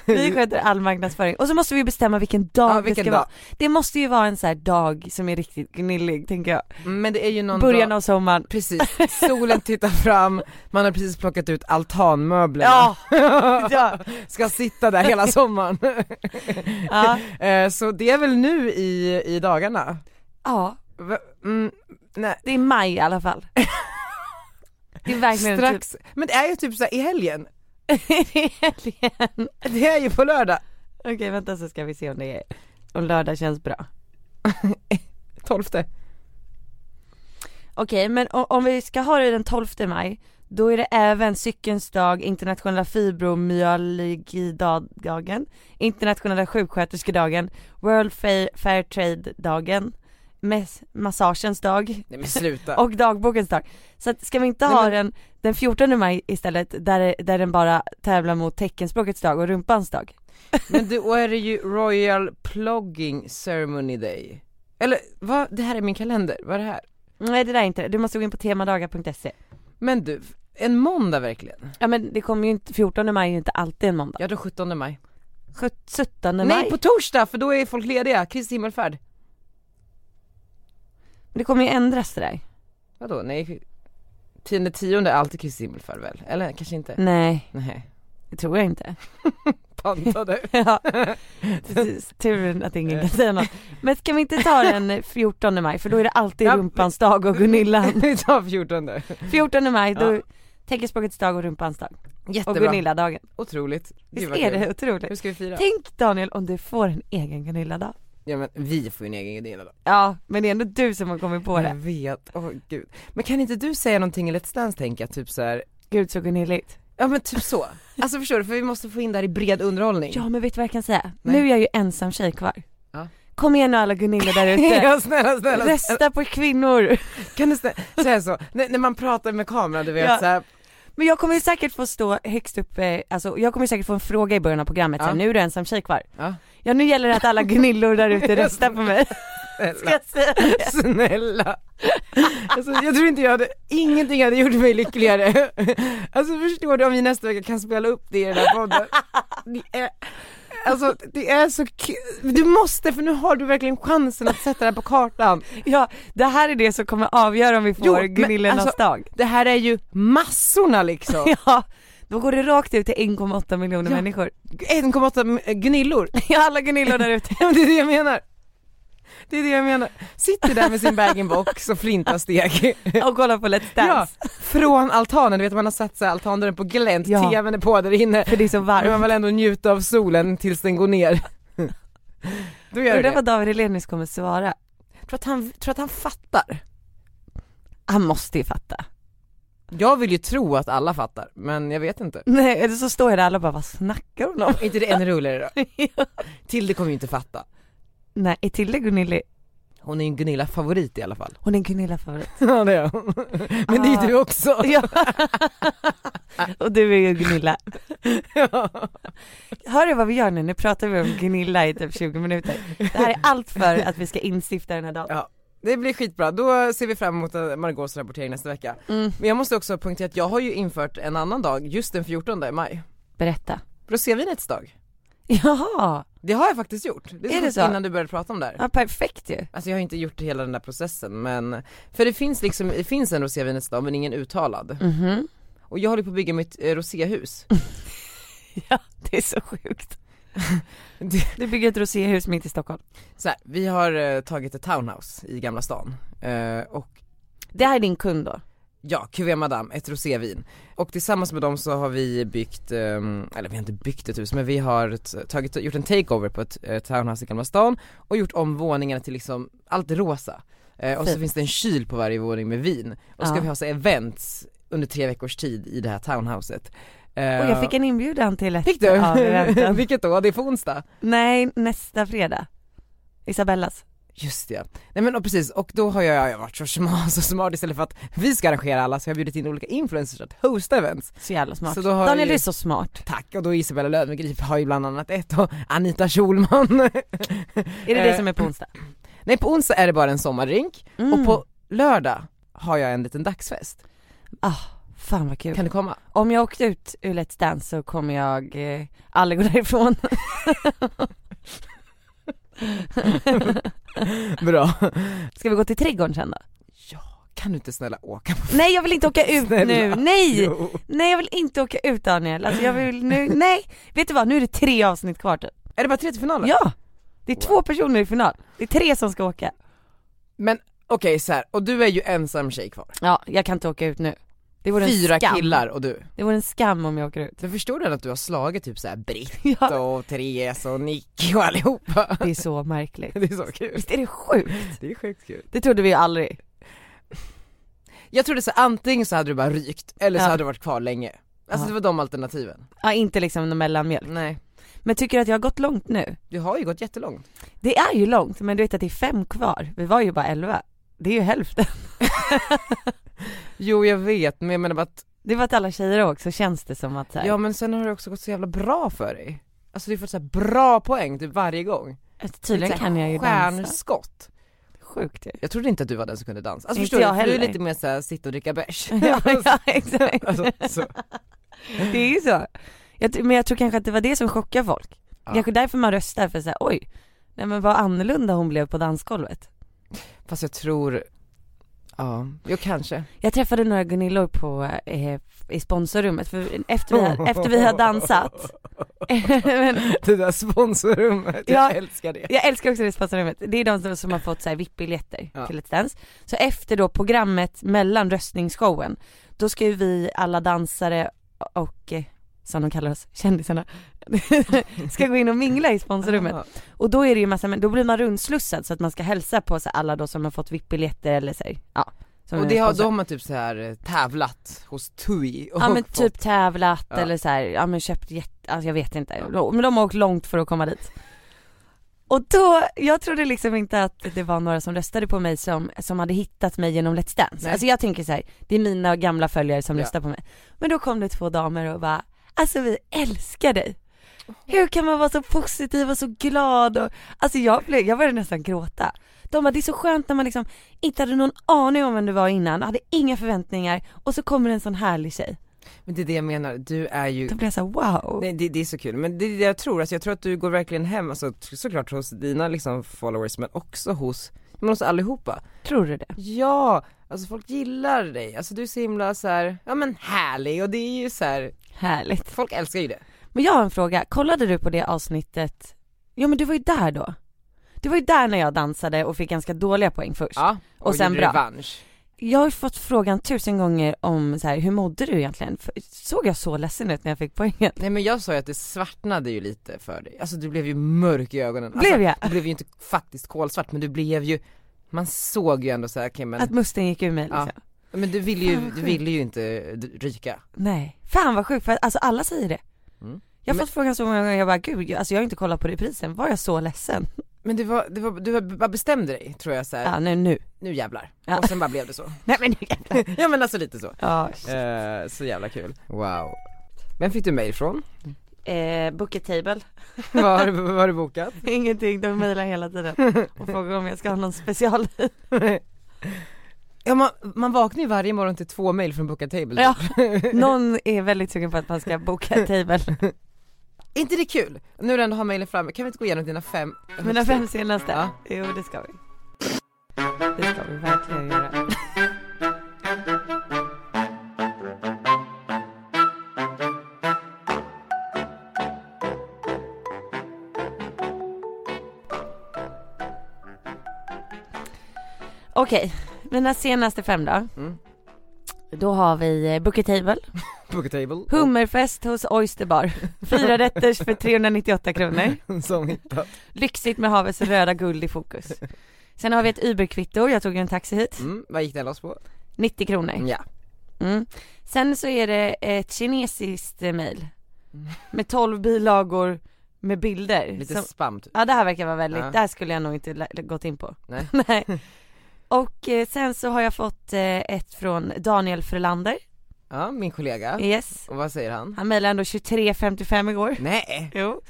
Speaker 3: Vi sköter all marknadsföring och så måste vi bestämma vilken dag
Speaker 1: Ja,
Speaker 3: det ska
Speaker 1: vilken
Speaker 3: vara.
Speaker 1: dag?
Speaker 3: Det måste ju vara en så här dag som är riktigt gnillig tänker jag.
Speaker 1: Mm, Men det är ju någon
Speaker 3: Början
Speaker 1: dag,
Speaker 3: av sommaren.
Speaker 1: precis, solen tittar fram, man har precis plockat ut altanmöblerna
Speaker 3: Ja, ja,
Speaker 1: Ska sitta där hela sommaren.
Speaker 3: ja,
Speaker 1: Eh, Så det är väl nu i, i dagarna?
Speaker 3: ja,
Speaker 1: Va- Mm, nej.
Speaker 3: det är maj i alla fall. Det är verkligen typ. Strax.
Speaker 1: Strax, men det är ju typ så här i helgen,
Speaker 3: typ, det är helgen.
Speaker 1: det är ju på lördag,
Speaker 3: Okej vänta så ska vi se om det är, om lördag känns bra.
Speaker 1: 12
Speaker 3: Okej men o- om vi ska ha det den 12 maj, då är det även cykelns dag, internationella fibromyalgidagen, internationella sjuksköterskedagen, World Fair, Fair Trade-dagen, mes- massagens dag
Speaker 1: Nej men sluta.
Speaker 3: och dagbokens dag. Så att ska vi inte
Speaker 1: Nej,
Speaker 3: ha
Speaker 1: men-
Speaker 3: den den 14 maj istället där, där den bara tävlar mot teckenspråkets dag och rumpans dag?
Speaker 1: Men då är det ju Royal Plogging Ceremony Day. Eller vad, det här är min kalender, vad är det här?
Speaker 3: Nej det där är inte det, du måste gå in på temadagar.se.
Speaker 1: Men du, en måndag verkligen?
Speaker 3: Ja men det kommer ju inte, 14 maj är ju inte alltid en måndag.
Speaker 1: Ja då 17 maj.
Speaker 3: 17 maj.
Speaker 1: Nej, på torsdag för då är folk lediga, Kristi himmelfärd.
Speaker 3: Det kommer ju ändras det där.
Speaker 1: Vadå, nej? Tionde tionde är alltid Kristi himmelfärd väl? Eller kanske
Speaker 3: Mm.
Speaker 1: inte?
Speaker 3: Nej,
Speaker 1: Nej,
Speaker 3: det tror jag inte.
Speaker 1: panta du.
Speaker 3: ja. Tur att ingen kan säga något. Men ska vi inte ta den 14 maj för då är det alltid
Speaker 1: Ja.
Speaker 3: rumpans dag och Gunilla.
Speaker 1: Vi tar 14.
Speaker 3: 14 maj, då
Speaker 1: Ja.
Speaker 3: teckenspråkets dag och rumpans dag. Och
Speaker 1: Jättebra.
Speaker 3: Gunilla-dagen.
Speaker 1: Otroligt. Gud,
Speaker 3: Visst
Speaker 1: vad
Speaker 3: är
Speaker 1: kul.
Speaker 3: det
Speaker 1: Hur
Speaker 3: otroligt?
Speaker 1: ska vi fira?
Speaker 3: Tänk Daniel om du får en egen Gunilla-dag.
Speaker 1: Ja men vi får ju en egen Gunilla då.
Speaker 3: Ja, men det är ändå du som har kommit på
Speaker 1: Jag
Speaker 3: det.
Speaker 1: vet, åh gud. Men kan inte du säga någonting i Let's Dance tänker jag, typ så här.
Speaker 3: Gud så gunilligt.
Speaker 1: Ja men typ så. Alltså förstår du, för vi måste få in det här i bred underhållning.
Speaker 3: Ja men vet du vad jag kan säga?
Speaker 1: Nej.
Speaker 3: Nu är jag ju ensam tjej kvar.
Speaker 1: Ja.
Speaker 3: Kom igen nu alla Gunilla där ute.
Speaker 1: Ja, snälla snälla, snälla.
Speaker 3: Rösta på kvinnor.
Speaker 1: kan du snälla, säga så, när, när man pratar med kameran du vet
Speaker 3: Ja.
Speaker 1: så här,
Speaker 3: Men jag kommer ju säkert få stå högst upp, eh, alltså jag kommer säkert få en fråga i början av programmet
Speaker 1: Ja.
Speaker 3: så här, nu är du ensam tjej kvar.
Speaker 1: Ja.
Speaker 3: Ja nu gäller det att alla gnillor där ute röstar på mig. Ska jag säga det?
Speaker 1: Snälla. Alltså, jag tror inte jag hade, ingenting hade gjort mig lyckligare. Alltså förstår du om vi nästa vecka kan spela upp det i den här podden. Det är, alltså det är så kul. Du måste för nu har du verkligen chansen att sätta det här på kartan.
Speaker 3: Ja, det här är det som kommer avgöra om vi
Speaker 1: Jo,
Speaker 3: får
Speaker 1: men
Speaker 3: gnillornas
Speaker 1: alltså-
Speaker 3: dag.
Speaker 1: Det här är ju massorna liksom.
Speaker 3: Ja, då går det rakt ut till 1,8 miljoner
Speaker 1: Ja.
Speaker 3: människor.
Speaker 1: 1,8 gnillor.
Speaker 3: Ja, alla gnillor där ute.
Speaker 1: Ja, men det är det jag menar. Det är det jag menar. Sitter där med sin bag-in-box och flintar steg.
Speaker 3: Och kollar på Let's
Speaker 1: Ja,
Speaker 3: Dance.
Speaker 1: från altanen, du vet man har satt sig altandörren på glänt,
Speaker 3: Ja.
Speaker 1: tvn är på där inne.
Speaker 3: För det är så
Speaker 1: Men man
Speaker 3: varmt.
Speaker 1: vill ändå njuta av solen tills den går ner. Då gör du
Speaker 3: Undrar
Speaker 1: det.
Speaker 3: vad David Hellenius kommer svara.
Speaker 1: Tror att, han, tror att han fattar?
Speaker 3: Han måste ju fatta.
Speaker 1: Jag vill ju tro att alla fattar, men jag vet inte.
Speaker 3: Nej, eller så står jag där alla och bara vad snackar hon om?
Speaker 1: Mm. inte det en rulle då? Tilde kommer ju inte fatta.
Speaker 3: Nej, Tilde Gunilla,
Speaker 1: Hon är ju en Gunilla-favorit i alla fall. Ah.
Speaker 3: hon är en Gunilla-favorit.
Speaker 1: Ja det är hon. Men det är ju du också.
Speaker 3: Ja. och du är ju Gunilla. Hör du vad vi gör nu? Nu pratar vi om Gunilla i typ 20 minuter. Det här är allt för att vi ska instifta den här dagen.
Speaker 1: Det blir skitbra, då ser vi fram emot eh, Margaux rapportering nästa vecka.
Speaker 3: Mm.
Speaker 1: Men jag måste också punktera att jag har ju infört en annan dag, just den 14 maj.
Speaker 3: Berätta.
Speaker 1: Rosévinets dag.
Speaker 3: Jaha,
Speaker 1: Det har jag faktiskt gjort. Det
Speaker 3: Är det
Speaker 1: är
Speaker 3: så?
Speaker 1: så? innan du började prata om det här.
Speaker 3: ja, perfekt ju.
Speaker 1: Alltså jag har inte gjort hela den där processen men, för det finns liksom, det finns en rosévinets dag men ingen uttalad.
Speaker 3: Mhm.
Speaker 1: Och jag håller på att bygga mitt eh, roséhus.
Speaker 3: Ja, det är så sjukt.
Speaker 1: Det-
Speaker 3: Du bygger ett roséhus mitt i Stockholm.
Speaker 1: Så här, vi har eh, tagit ett townhouse i Gamla stan. Eh, och
Speaker 3: Det här är din kund då?
Speaker 1: Ja, Cuvée Madame, ett rosévin. Och tillsammans med dem så har vi byggt, ehm, eller vi har inte byggt ett hus men vi har t- tagit, gjort en takeover på ett eh, townhouse i Gamla stan och gjort om våningarna till liksom allt rosa. Eh, och så
Speaker 3: Fint.
Speaker 1: finns det en kyl på varje våning med vin. Och så
Speaker 3: Ja.
Speaker 1: ska vi ha så här events under tre veckors tid i det här townhouset. Eh,
Speaker 3: Och jag fick en inbjudan till ett
Speaker 1: Fick du?
Speaker 3: av eventen.
Speaker 1: Vilket då? Det är på onsdag?
Speaker 3: Nej, nästa fredag. Isabellas.
Speaker 1: Just det. Nej men och precis, och då har jag, jag har varit så smart, så smart istället för att vi ska arrangera alla så har jag bjudit in olika influencers att hosta events.
Speaker 3: Så jävla smart.
Speaker 1: Så då har
Speaker 3: Daniel
Speaker 1: ju-
Speaker 3: du är så smart.
Speaker 1: Tack, och då Isabella Löwengrip har ju bland annat ett och Anita Schulman.
Speaker 3: Är det det
Speaker 1: Eh,
Speaker 3: som är på onsdag?
Speaker 1: Nej på onsdag är det bara en sommarrink
Speaker 3: Mm.
Speaker 1: och på lördag har jag en liten dagsfest.
Speaker 3: Ah, fan vad kul.
Speaker 1: Kan du komma?
Speaker 3: Om jag åkte ut ur Let's Dance så kommer jag eh, aldrig gå därifrån.
Speaker 1: Bra.
Speaker 3: Ska vi gå till trädgården sen då?
Speaker 1: Kan du inte snälla åka på
Speaker 3: Nej jag vill inte åka ut
Speaker 1: Snälla.
Speaker 3: nu, nej!
Speaker 1: Jo.
Speaker 3: Nej jag vill inte åka ut Daniel, alltså jag vill nu, nej! Vet du vad, nu är det tre avsnitt kvar typ.
Speaker 1: Är det bara tre till finalen?
Speaker 3: Ja! Det är två personer i final, det är tre som ska åka.
Speaker 1: Men okej så här. och du är ju ensam tjej kvar.
Speaker 3: Ja, jag kan inte åka ut nu. Det vore
Speaker 1: Fyra
Speaker 3: en skam.
Speaker 1: killar och du.
Speaker 3: Det vore en skam om jag åker ut.
Speaker 1: Men förstår du att du har slagit typ så här Britt
Speaker 3: Ja,
Speaker 1: och Therese och Nicky och allihopa?
Speaker 3: det är så märkligt.
Speaker 1: Det är så kul.
Speaker 3: Visst är det sjukt?
Speaker 1: Det är sjukt kul.
Speaker 3: Det trodde vi ju aldrig.
Speaker 1: Jag trodde så här, antingen så hade du bara rykt eller så
Speaker 3: Ja.
Speaker 1: hade du varit kvar länge. Alltså
Speaker 3: Ja.
Speaker 1: det var de alternativen.
Speaker 3: Ja, inte liksom någon mellanmjölk.
Speaker 1: Nej.
Speaker 3: Men tycker du att jag har gått långt nu?
Speaker 1: Du har ju gått jättelångt.
Speaker 3: Det är ju långt, men du vet att det är fem kvar. Vi var ju bara elva. Det är ju hälften.
Speaker 1: Jo jag vet men jag menar bara att,
Speaker 3: Det var att alla tjejer också känns det som att så här,
Speaker 1: ja men sen har det också gått så jävla bra för dig. Alltså du har fått så här bra poäng typ varje gång.
Speaker 3: att Alltså, tydligen
Speaker 1: Lite så här
Speaker 3: kan jag ju dansa.
Speaker 1: Stjärnskott.
Speaker 3: Sjukt ju.
Speaker 1: Jag trodde inte att du var den som kunde dansa. Alltså
Speaker 3: Inte
Speaker 1: förstår du,
Speaker 3: jag
Speaker 1: för du är
Speaker 3: heller.
Speaker 1: lite mer såhär sitta och dricka bärs.
Speaker 3: Ja, ja exakt.
Speaker 1: alltså, så.
Speaker 3: Det är ju så. Jag, tr- men jag tror kanske att det var det som chockade folk.
Speaker 1: Ja.
Speaker 3: Kanske därför man röstar för såhär, oj, nej men vad annorlunda hon blev på dansgolvet.
Speaker 1: Fast jag tror, ja, jo kanske.
Speaker 3: Jag träffade några Gunillor på, eh, i sponsorrummet för efter vi, har- efter vi har dansat Men
Speaker 1: Det där sponsorrummet,
Speaker 3: Ja.
Speaker 1: jag älskar det.
Speaker 3: Jag älskar också det sponsorrummet, det är de som, som har fått så här VIP-biljetter
Speaker 1: Ja.
Speaker 3: till Let's Dance Så efter då programmet mellan röstningsshowen, då ska ju vi alla dansare och, eh, som de kallar oss, kändisarna Ska gå in och mingla i sponsorrummet
Speaker 1: Ja.
Speaker 3: Och då är det ju massa, men då blir man rundslussad så att man ska hälsa på så här, alla då som har fått VIP-biljetter eller så här, ja som
Speaker 1: Och
Speaker 3: är
Speaker 1: det har,
Speaker 3: sponsor.
Speaker 1: då har man typ så här eh, tävlat hos TUI och
Speaker 3: Ja men
Speaker 1: fått-
Speaker 3: typ tävlat
Speaker 1: Ja.
Speaker 3: eller så här, ja men köpt jätte, alltså jag vet inte, men de har åkt långt för att komma dit Och då, jag trodde liksom inte att det var några som röstade på mig som, som hade hittat mig genom Let's Dance.
Speaker 1: Nej.
Speaker 3: Alltså jag tänker så här, det är mina gamla följare som
Speaker 1: Ja.
Speaker 3: röstar på mig. Men då kom det två damer och bara, alltså vi älskar dig.
Speaker 1: Oh.
Speaker 3: Hur kan man vara så positiv och så glad och, alltså jag blev, jag började nästan gråta. De bara, det är så skönt när man liksom inte hade någon aning om vem du var innan, hade inga förväntningar och så kommer en sån härlig tjej.
Speaker 1: Men det är det jag menar, du är ju
Speaker 3: Då blev jag såhär wow.
Speaker 1: Nej det, det är så kul, men det är det jag tror, alltså jag tror att du går verkligen hem, alltså t- såklart hos dina liksom followers men också hos, men hos allihopa
Speaker 3: Tror du det?
Speaker 1: Ja, alltså folk gillar dig, alltså du är så himla så här, ja men härlig och det är ju så här,
Speaker 3: Härligt.
Speaker 1: folk älskar ju det
Speaker 3: Men jag har en fråga, kollade du på det avsnittet? Ja men du var ju där då. Du var ju där när jag dansade och fick ganska dåliga poäng först.
Speaker 1: Ja, och,
Speaker 3: Och sen
Speaker 1: gjorde
Speaker 3: bra.
Speaker 1: revansch
Speaker 3: Jag har ju fått frågan tusen gånger om så här, hur mådde du egentligen? För- Såg jag så ledsen ut när jag fick poängen?
Speaker 1: Nej men jag sa ju att det svartnade ju lite för dig, alltså du blev ju mörk i ögonen alltså,
Speaker 3: Blev jag?
Speaker 1: Du blev ju inte faktiskt kolsvart men du blev ju, man såg ju ändå så här, okej men,
Speaker 3: Att musten gick ur mig liksom.
Speaker 1: Ja. men du ville ju,
Speaker 3: Fan, vad
Speaker 1: du
Speaker 3: sjukt.
Speaker 1: ville ju inte d- ryka
Speaker 3: Nej. Fan vad sjukt, för alltså alla säger det.
Speaker 1: Mm.
Speaker 3: Jag har
Speaker 1: Men-
Speaker 3: fått frågan så många gånger, jag bara gud, jag- alltså jag har inte kollat på reprisen, var jag så ledsen?
Speaker 1: Men det var, det var, du bara bestämde dig tror jag så här.
Speaker 3: Ja nu, nu.
Speaker 1: nu jävlar.
Speaker 3: Ja.
Speaker 1: Och sen bara blev det så.
Speaker 3: Nej men nu jävlar.
Speaker 1: ja men alltså lite så.
Speaker 3: Ja,
Speaker 1: Eh, så jävla kul. Wow. Vem fick du mail från?
Speaker 3: eh, bucket table.
Speaker 1: Vad har du- vad har du bokat?
Speaker 3: Ingenting, de mejlar hela tiden och frågar om jag ska ha någon special.
Speaker 1: Ja, man, man vaknar ju varje morgon till två mail från Bookatable. Table. typ.
Speaker 3: Ja, någon är väldigt sugen på att man ska boka ett table.
Speaker 1: Är inte det kul? Nu när du ändå har mailen framme, kan vi inte gå igenom dina fem
Speaker 3: Mina fem senaste.
Speaker 1: Ja.
Speaker 3: Jo det ska vi. Det ska vi verkligen göra. Okej, mina senaste fem då.
Speaker 1: Mm.
Speaker 3: Då har vi eh, Booker Table.
Speaker 1: Bookatable
Speaker 3: Hummerfest hos Oysterbar. Fyra rätters för 398 kronor.
Speaker 1: som hittat.
Speaker 3: Lyxigt med havets röda guld i fokus. Sen har vi ett Uberkvitto, jag tog ju en taxi hit.
Speaker 1: Mm, vad gick den loss på?
Speaker 3: 90 kronor.
Speaker 1: Ja.
Speaker 3: Mm. Sen så är det ett kinesiskt eh, mail. Med 12 bilagor med bilder.
Speaker 1: Mm. Lite
Speaker 3: Som,
Speaker 1: spam typ.
Speaker 3: ja det här verkar vara väldigt,
Speaker 1: Ja.
Speaker 3: det här skulle jag nog inte lä- gått in på.
Speaker 1: Nej.
Speaker 3: Och eh, sen så har jag fått eh, ett från Daniel Frölander.
Speaker 1: Ja, min kollega.
Speaker 3: Yes.
Speaker 1: Och vad säger han?
Speaker 3: Han mejlade ändå 23.55 igår.
Speaker 1: Nej!
Speaker 3: Jo.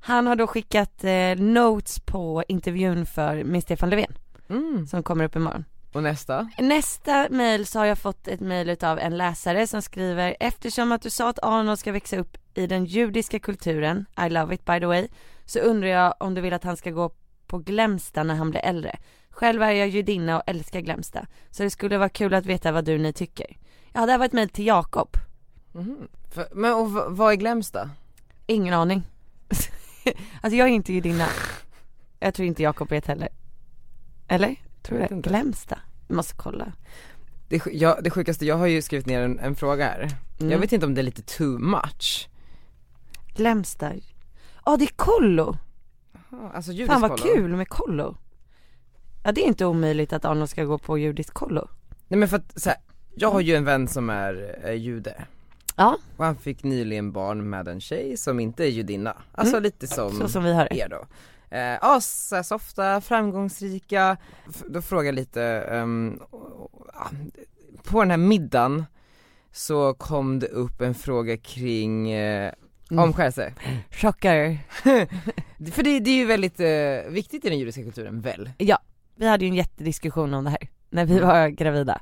Speaker 3: Han har då skickat eh, notes på intervjun för med Stefan Löfven
Speaker 1: Mm.
Speaker 3: som kommer upp imorgon.
Speaker 1: Och nästa?
Speaker 3: Nästa mail så har jag fått ett mail utav en läsare som skriver eftersom att du sa att Arnold ska växa upp i den judiska kulturen, I love it by the way, så undrar jag om du vill att han ska gå på Glämsta när han blir äldre. Själv är jag judinna och älskar Glämsta, så det skulle vara kul att veta vad du ni tycker. Ja, det här var ett mail till Jakob.
Speaker 1: Mhm. För, men och v- vad är Glämsta?
Speaker 3: Ingen aning. alltså jag är inte judinna. Jag tror inte Jakob vet heller. Eller? Tror
Speaker 1: vet
Speaker 3: jag.
Speaker 1: inte.
Speaker 3: Glämsta. Vi måste kolla.
Speaker 1: Det, sj- jag, det sjukaste, jag har ju skrivit ner en, en fråga här.
Speaker 3: Mm.
Speaker 1: Jag vet inte om det är lite too much.
Speaker 3: Glämsta. Ja det är kollo.
Speaker 1: Alltså judisk
Speaker 3: Fan vad
Speaker 1: kollo.
Speaker 3: kul med kollo. Ja det är inte omöjligt att Arnold ska gå på judiskt kollo.
Speaker 1: Nej men för att så här, jag har ju en vän som är eh, jude.
Speaker 3: Ja.
Speaker 1: Och han fick nyligen barn med en tjej som inte är judinna. Alltså lite som,
Speaker 3: Mm. Så som vi har det.
Speaker 1: er då. Eh, ja, så här softa, framgångsrika. F- då frågar jag lite, ehm, ja, på den här middagen så kom det upp en fråga kring eh,
Speaker 3: Mm.
Speaker 1: omskärelse.
Speaker 3: Chocker.
Speaker 1: För det, det är ju väldigt eh, viktigt i den judiska kulturen väl?
Speaker 3: Vi hade ju en jättediskussion om det här när vi var gravida.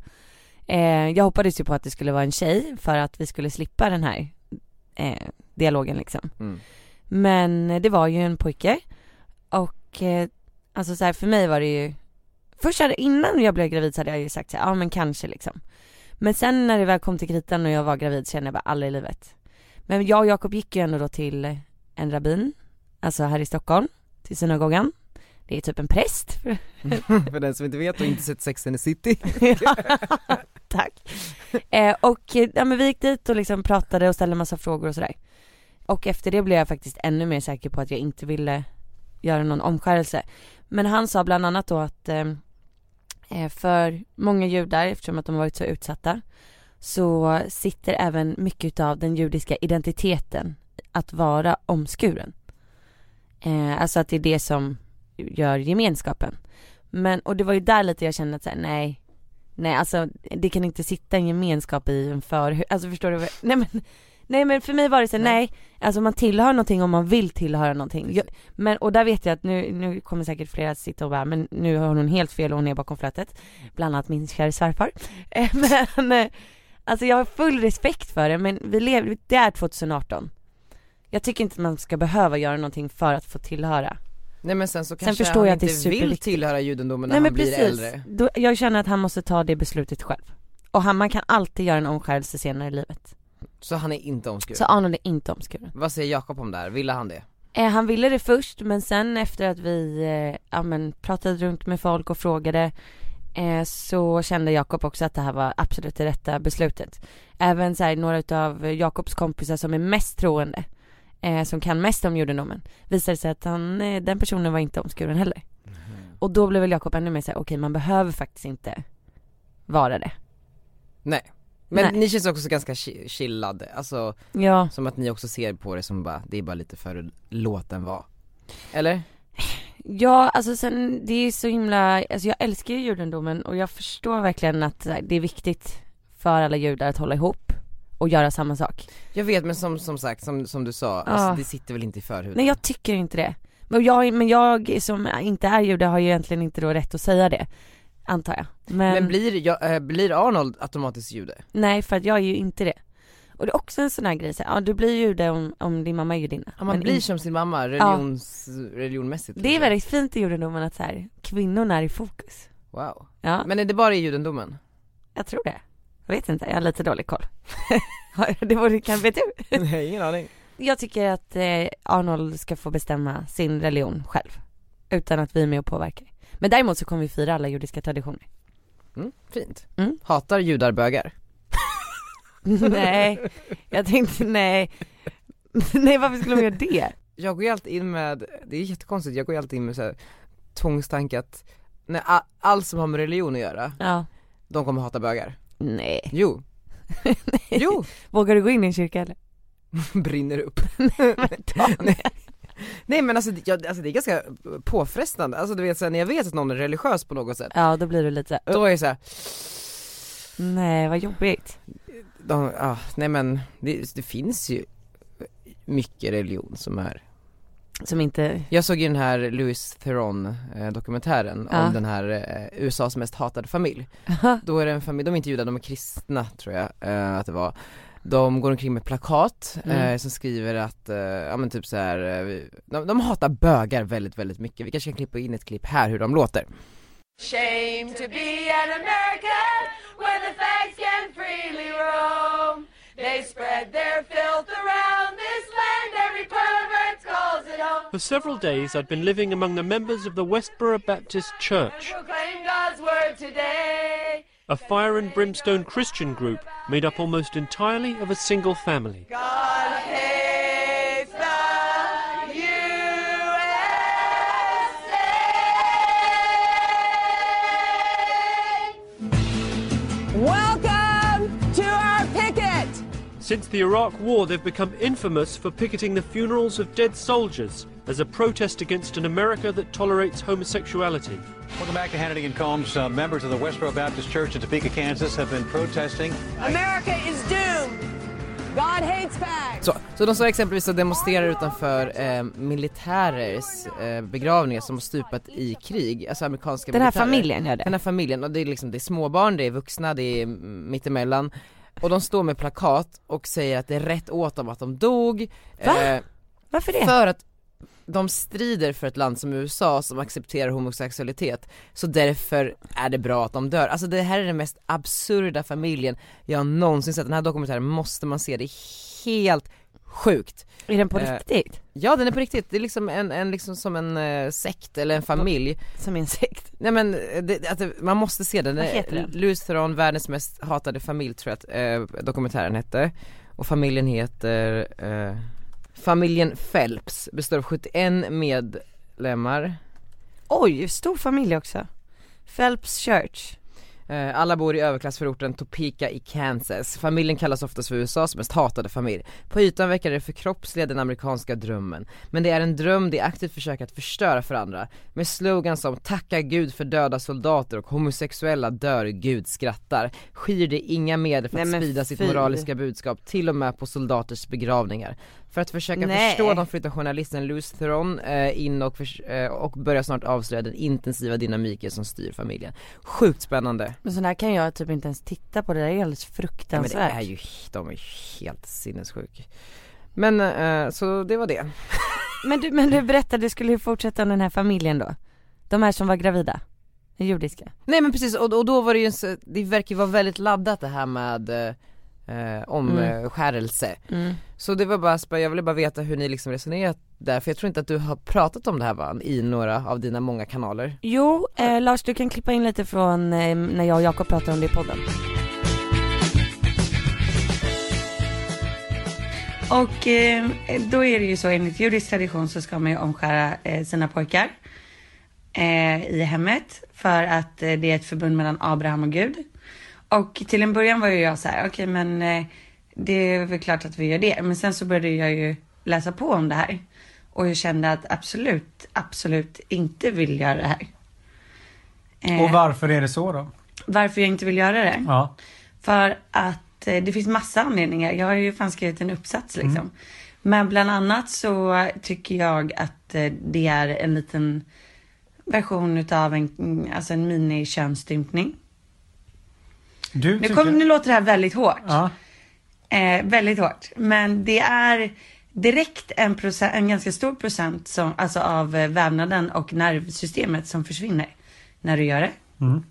Speaker 3: Eh, jag hoppades ju på att det skulle vara en tjej för att vi skulle slippa den här eh, dialogen liksom.
Speaker 1: Mm.
Speaker 3: Men det var ju en pojke och eh, alltså så här, för mig var det ju Först hade, innan jag blev gravid så hade jag ju sagt så här, ja men kanske liksom Men sen när det väl kom till kritan och jag var gravid kände jag bara aldrig i livet Men jag och Jakob gick ju ändå då till en rabbin Alltså här i Stockholm, till synagogan Det är typ en präst
Speaker 1: för den som inte vet och inte sett Sex and the City.
Speaker 3: Ja, Tack. Eh, och eh, ja, men vi gick dit och liksom pratade och ställde massa frågor och sådär. Och efter det blev jag faktiskt ännu mer säker på att jag inte ville göra någon omskärelse. Men han sa bland annat då att eh, eh, för många judar, eftersom att de har varit så utsatta, så sitter även mycket av den judiska identiteten att vara omskuren. Eh, alltså att det är det som gör gemenskapen. Men, och det var ju där lite jag kände att så här, nej, nej alltså det kan inte sitta en gemenskap i en förhud, alltså förstår du vad, nej men Nej men för mig var det så här, nej, alltså man tillhör någonting om man vill tillhöra någonting. Jag, men, och där vet jag att nu, nu kommer säkert flera att sitta och bara, men nu har hon helt fel och hon är bakom flötet. Bland annat min kära svärfar. Eh, Men, eh, alltså jag har full respekt för det men vi lever, det är 2018. Jag tycker inte att man ska behöva göra någonting för att få tillhöra.
Speaker 1: Nej men sen så kanske
Speaker 3: förstår
Speaker 1: han
Speaker 3: jag att det är
Speaker 1: inte vill
Speaker 3: superviktigt.
Speaker 1: tillhöra judendomen när han blir äldre
Speaker 3: Då, jag känner att han måste ta det beslutet själv. Och han, man kan alltid göra en omskärelse senare i livet.
Speaker 1: Så han är inte omskuren
Speaker 3: Så Arnold är inte omskuren.
Speaker 1: Vad säger Jakob om det här? Ville han det?
Speaker 3: Eh, han ville det först men sen efter att vi eh, ja, men, pratade runt med folk och frågade eh, så kände Jakob också att det här var absolut det rätta beslutet. Även så här, några utav Jakobs kompisar som är mest troende, eh, som kan mest om judendomen, visade sig att han, eh, den personen var inte omskuren heller. Och då blev väl Jakob ännu mer såhär, okej man behöver faktiskt inte vara det.
Speaker 1: Nej Men
Speaker 3: Nej.
Speaker 1: ni känns också ganska chi- chillade, alltså
Speaker 3: Ja.
Speaker 1: som att ni också ser på det som bara, det är bara lite för att låten vara Eller?
Speaker 3: Ja, alltså sen, det är så himla, alltså jag älskar ju judendomen och jag förstår verkligen att så här, det är viktigt för alla judar att hålla ihop och göra samma sak.
Speaker 1: Jag vet men som, som sagt, som, som du sa, alltså, det sitter väl inte i förhuden?
Speaker 3: Nej jag tycker inte det. Men jag, men jag som inte är jude har ju egentligen inte då rätt att säga det, antar jag. Men,
Speaker 1: Men blir, jag, eh, blir Arnold automatiskt jude?
Speaker 3: nej för att jag är ju inte det. Och det är också en sån här grej, så här, ja du blir jude om, om din mamma är judinna.
Speaker 1: Ja, man
Speaker 3: Men
Speaker 1: blir
Speaker 3: in-
Speaker 1: som sin mamma, religions, religionmässigt
Speaker 3: det är
Speaker 1: liksom.
Speaker 3: väldigt fint i judendomen att så här, kvinnorna är i fokus.
Speaker 1: Wow
Speaker 3: Ja.
Speaker 1: Men är det bara i judendomen?
Speaker 3: Jag tror det. Jag vet inte, jag har lite dålig koll. det vore kan vet du.
Speaker 1: Nej ingen aning
Speaker 3: Jag tycker att eh, Arnold ska få bestämma sin religion själv. Utan att vi är med och påverkar. Men däremot så kommer vi fira alla judiska traditioner.
Speaker 1: mm, Fint
Speaker 3: Mm.
Speaker 1: Hatar judar bögar?
Speaker 3: nej, jag tänkte nej. nej varför skulle de göra det?
Speaker 1: jag går ju alltid in med, det är jättekonstigt, jag går ju alltid in med så här tvångstanke att nej, a- allt som har med religion att göra,
Speaker 3: Ja.
Speaker 1: de kommer hata bögar.
Speaker 3: Nej.
Speaker 1: Jo, jo,
Speaker 3: Vågar du gå in i en kyrka eller?
Speaker 1: brinner upp. nej. nej men alltså, det- jag, alltså det är ganska påfrestande, alltså du vet så här, när jag vet att någon är religiös på något sätt,
Speaker 3: Ja då blir du lite så här,
Speaker 1: då är jag så här,
Speaker 3: nej vad jobbigt.
Speaker 1: de, ah, nej men det, det finns ju mycket religion som är
Speaker 3: Som inte,
Speaker 1: Jag såg ju den här Louis Theron eh, dokumentären
Speaker 3: Ja.
Speaker 1: om den här eh, USAs mest hatade familj. Då är det en familj, de är inte judar, de är kristna tror jag eh, att det var. De går omkring med plakat eh,
Speaker 3: Mm.
Speaker 1: som skriver att, eh, ja men typ så här, eh, vi- de, de hatar bögar väldigt väldigt mycket. Vi kanske kan klippa in ett klipp här hur de låter.
Speaker 7: Shame to be an American where the fags can freely roam. They spread their filth around this land, every pervert calls it home.
Speaker 8: For several days, I'd been living among the members of the Westboro Baptist Church,
Speaker 7: Proclaim God's word today.
Speaker 8: a fire and brimstone Christian group made up almost entirely of a single family.
Speaker 7: God hates the USA.
Speaker 8: Since the Iraq War, they've become infamous for picketing the funerals of dead soldiers as a protest against an America that tolerates homosexuality.
Speaker 9: Welcome back to Hannity and Combs. Uh, members of the Westboro Baptist Church in Topeka, Kansas have been protesting
Speaker 7: America is doomed. God hates fags.
Speaker 1: Så, så de står exempelvis och demonstrerar utanför eh, militärers eh, begravningar som har stupat i krig, alltså amerikanska
Speaker 3: den här
Speaker 1: militärer.
Speaker 3: familjen gör det.
Speaker 1: Den här familjen, och det är liksom, det är småbarn, det är vuxna, det är mm, mittemellan Och de står med plakat och säger att det är rätt åt dem att de dog
Speaker 3: Va?
Speaker 1: eh,
Speaker 3: Varför det?
Speaker 1: För att de strider för ett land som USA som accepterar homosexualitet Så därför är det bra att de dör, alltså det här är den mest absurda familjen jag någonsin sett Den här dokumentären måste man se, det är helt sjukt
Speaker 3: Är den på
Speaker 1: eh,
Speaker 3: riktigt?
Speaker 1: Ja den är på riktigt, det är liksom en, en liksom som en eh, sekt eller en familj
Speaker 3: Som en sekt?
Speaker 1: Nej men eh, det, att det, man måste se den,
Speaker 3: Vad heter den?
Speaker 1: Louis Theron, världens mest hatade familj tror jag att eh, dokumentären hette Och familjen heter eh, Familjen Phelps, består av 71 medlemmar
Speaker 3: Oj, stor familj också. Phelps Church.
Speaker 1: Eh, Alla bor i överklassförorten Topeka i Kansas. Familjen kallas oftast för USAs mest hatade familj. På ytan verkar det förkroppsliga den amerikanska drömmen. Men det är en dröm de aktivt försöker att förstöra för andra. Med slogans som “Tacka Gud för döda soldater” och “Homosexuella dör, Gud skrattar” skyr de inga medel för att
Speaker 10: Nej, men
Speaker 1: sprida sitt
Speaker 10: fy.
Speaker 1: moraliska budskap, till och med på soldaters begravningar. För att försöka
Speaker 10: Nej.
Speaker 1: förstå dem flyttar journalisten Louis Theron eh, in och, förs- eh, och börjar snart avslöja den intensiva dynamiken som styr familjen. Sjukt spännande!
Speaker 10: Men sån här kan jag typ inte ens titta på, det där är alldeles
Speaker 1: Ja, men det
Speaker 10: fruktansvärt.
Speaker 1: är ju, de är ju helt sinnessjuka. Men eh, så det var det.
Speaker 10: Men du, men du berättade, du skulle ju fortsätta om den här familjen då? De här som var gravida? Den judiska?
Speaker 1: Nej men precis och, och då var det ju, en så- det verkar ju vara väldigt laddat det här med eh, omskärelse.
Speaker 10: Mm.
Speaker 1: Så det var bara, spä- jag ville bara veta hur ni liksom resonerat där för jag tror inte att du har pratat om det här va, i några av dina många kanaler.
Speaker 10: Jo, eh, Lars du kan klippa in lite från eh, när jag och Jakob pratar om det i podden.
Speaker 3: Och eh, då är det ju så enligt judisk tradition så ska man ju omskära eh, sina pojkar eh, i hemmet för att eh, det är ett förbund mellan Abraham och Gud. Och till en början var ju jag så här, okej men eh, det är väl klart att vi gör det. Men sen så började jag ju läsa på om det här och jag kände att absolut, absolut inte vill göra det här. Eh,
Speaker 11: Och varför är det så då?
Speaker 3: varför jag inte vill göra det?
Speaker 11: Ja.
Speaker 3: För att eh, det finns massa anledningar. Jag har ju fan skrivit en uppsats liksom.
Speaker 11: Mm.
Speaker 3: Men bland annat så tycker jag att eh, det är en liten version utav en, mm, alltså en mini-könsstympning.
Speaker 11: Du
Speaker 3: Nu,
Speaker 11: tycker...
Speaker 3: kom, nu låter det här väldigt hårt.
Speaker 11: Ja.
Speaker 3: Eh, väldigt hårt. Men det är direkt en, procent, en ganska stor procent som, alltså av eh, vävnaden och nervsystemet som försvinner när du gör det.
Speaker 11: Mm.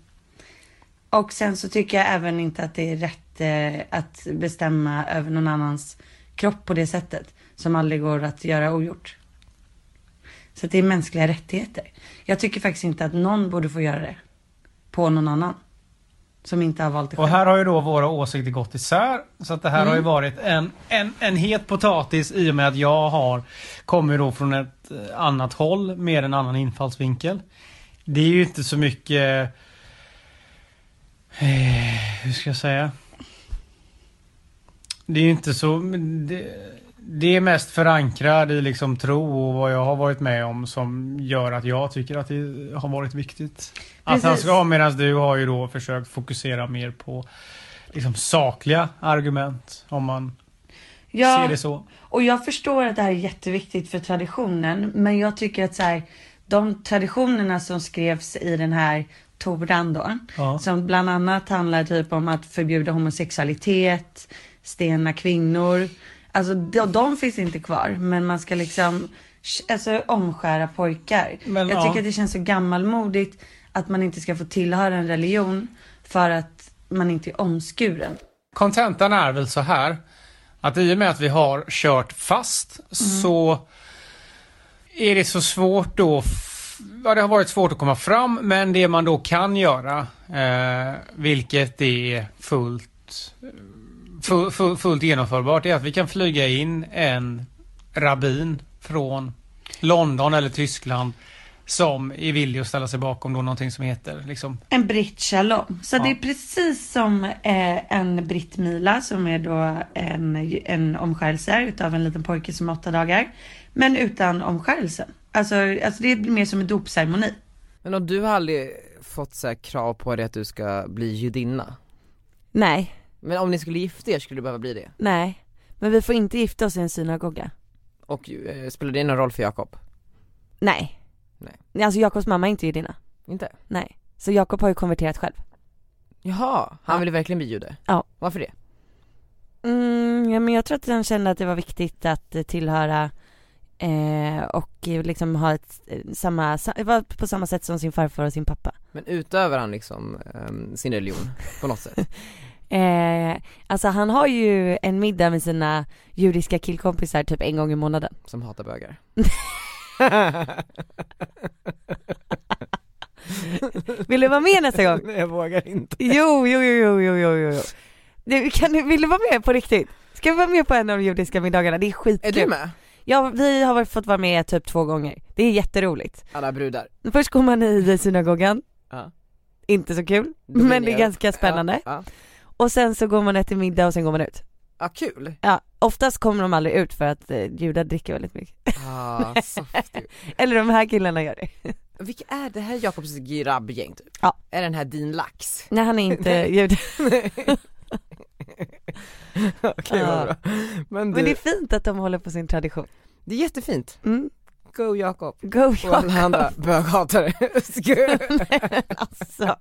Speaker 3: Och sen så tycker jag även inte att det är rätt eh, att bestämma över någon annans kropp på det sättet. Som aldrig går att göra ogjort. Så att det är mänskliga rättigheter. Jag tycker faktiskt inte att någon borde få göra det. På någon annan. Som inte har valt det
Speaker 11: Och
Speaker 3: själv.
Speaker 11: här har ju då våra åsikter gått isär. Så att det här har ju
Speaker 9: Mm.
Speaker 11: varit en, en, en het potatis i och med att jag har kommer då från ett eh, annat håll med en annan infallsvinkel. Det är ju inte så mycket... Eh, hur ska jag säga? Det är ju inte så... men Det, det är mest förankrad i liksom tro och vad jag har varit med om som gör att jag tycker att det har varit viktigt. Att han
Speaker 3: Precis.
Speaker 11: ska ha medan du har ju då försökt fokusera mer på liksom sakliga argument om man ser det så.
Speaker 3: Och jag förstår att det här är jätteviktigt för traditionen, men jag tycker att så här, de traditionerna som skrevs i den här Toran då,
Speaker 11: Ja.
Speaker 3: som bland annat handlar typ om att förbjuda homosexualitet, stena kvinnor. Alltså de, de finns inte kvar, men man ska liksom sh- alltså, omskära pojkar.
Speaker 11: Men,
Speaker 3: jag
Speaker 11: ja.
Speaker 3: tycker att det känns så gammalmodigt att man inte ska få tillhöra en religion för att man inte är omskuren.
Speaker 11: Kontentan är väl så här att i och med att vi har kört fast
Speaker 9: Mm.
Speaker 11: så är det så svårt då f- Ja, det har varit svårt att komma fram men det man då kan göra eh, vilket är fullt fu- fu- fullt genomförbart är att vi kan flyga in en rabbin från London eller Tyskland som är villig att ställa sig bakom då någonting som heter liksom
Speaker 3: En britt shalom. Så
Speaker 11: Ja.
Speaker 3: det är precis som eh, en britt mila som är då en, en omskärelse utav en liten pojke som är åtta dagar. Men utan omskärelsen. Alltså, alltså det är mer som en dopceremoni.
Speaker 1: Men om du har aldrig fått så här krav på dig att du ska bli judinna?
Speaker 10: Nej,
Speaker 1: Men om ni skulle gifta er skulle du behöva bli det?
Speaker 10: nej. Men vi får inte gifta oss i en synagoga.
Speaker 1: Och eh, spelar det någon roll för Jakob?
Speaker 10: Nej.
Speaker 1: Nej.
Speaker 10: Alltså Jakobs mamma är inte judinna.
Speaker 1: Inte?
Speaker 10: Nej. Så Jakob har ju konverterat själv.
Speaker 1: Jaha, han ville verkligen bli jude?
Speaker 10: Ja.
Speaker 1: Varför det?
Speaker 10: Mm, ja, men jag tror att han kände att det var viktigt att eh, tillhöra eh, och eh, liksom ha ett, eh, samma, sa, vara på samma sätt som sin farfar och sin pappa.
Speaker 1: Men utövar han liksom ehm, sin religion på något sätt?
Speaker 10: Eh, alltså han har ju en middag med sina judiska killkompisar typ en gång i månaden.
Speaker 1: Som hatar bögar?
Speaker 10: Vill du vara med nästa gång?
Speaker 1: Nej jag vågar inte
Speaker 10: Jo, jo, jo, jo, jo, jo, jo. Du, kan du, vill du vara med på riktigt? Ska vi vara med på en av de judiska middagarna? Det är
Speaker 1: Är
Speaker 10: skitkul.
Speaker 1: du med?
Speaker 10: Ja, vi har varit- fått vara med typ två gånger. Det är jätteroligt.
Speaker 1: Alla brudar
Speaker 10: Först går man i synagogan.
Speaker 1: Ja.
Speaker 3: inte så kul,
Speaker 1: Då blir
Speaker 3: men det är
Speaker 1: ni-
Speaker 3: ganska spännande.
Speaker 1: Ja, ja.
Speaker 3: Och sen så går man äter middag och sen går man ut.
Speaker 1: ja kul!
Speaker 3: Ja, oftast kommer de aldrig ut för att eh, judar dricker väldigt mycket.
Speaker 1: Ah, soft. ju.
Speaker 3: Eller de här killarna gör det.
Speaker 1: Vilka är det här Jakobs grabbgäng typ?
Speaker 3: Ja.
Speaker 1: Är den här din lax?
Speaker 3: Nej han är inte jude.
Speaker 1: Okej
Speaker 3: Ja.
Speaker 1: vad bra. Men, du,
Speaker 3: Men det är
Speaker 1: det...
Speaker 3: fint att de håller på sin tradition.
Speaker 1: är jättefint.
Speaker 3: Mm.
Speaker 1: Go Jakob.
Speaker 3: Go
Speaker 1: Och alla
Speaker 3: Jakob.
Speaker 1: andra böghatare.
Speaker 3: alltså.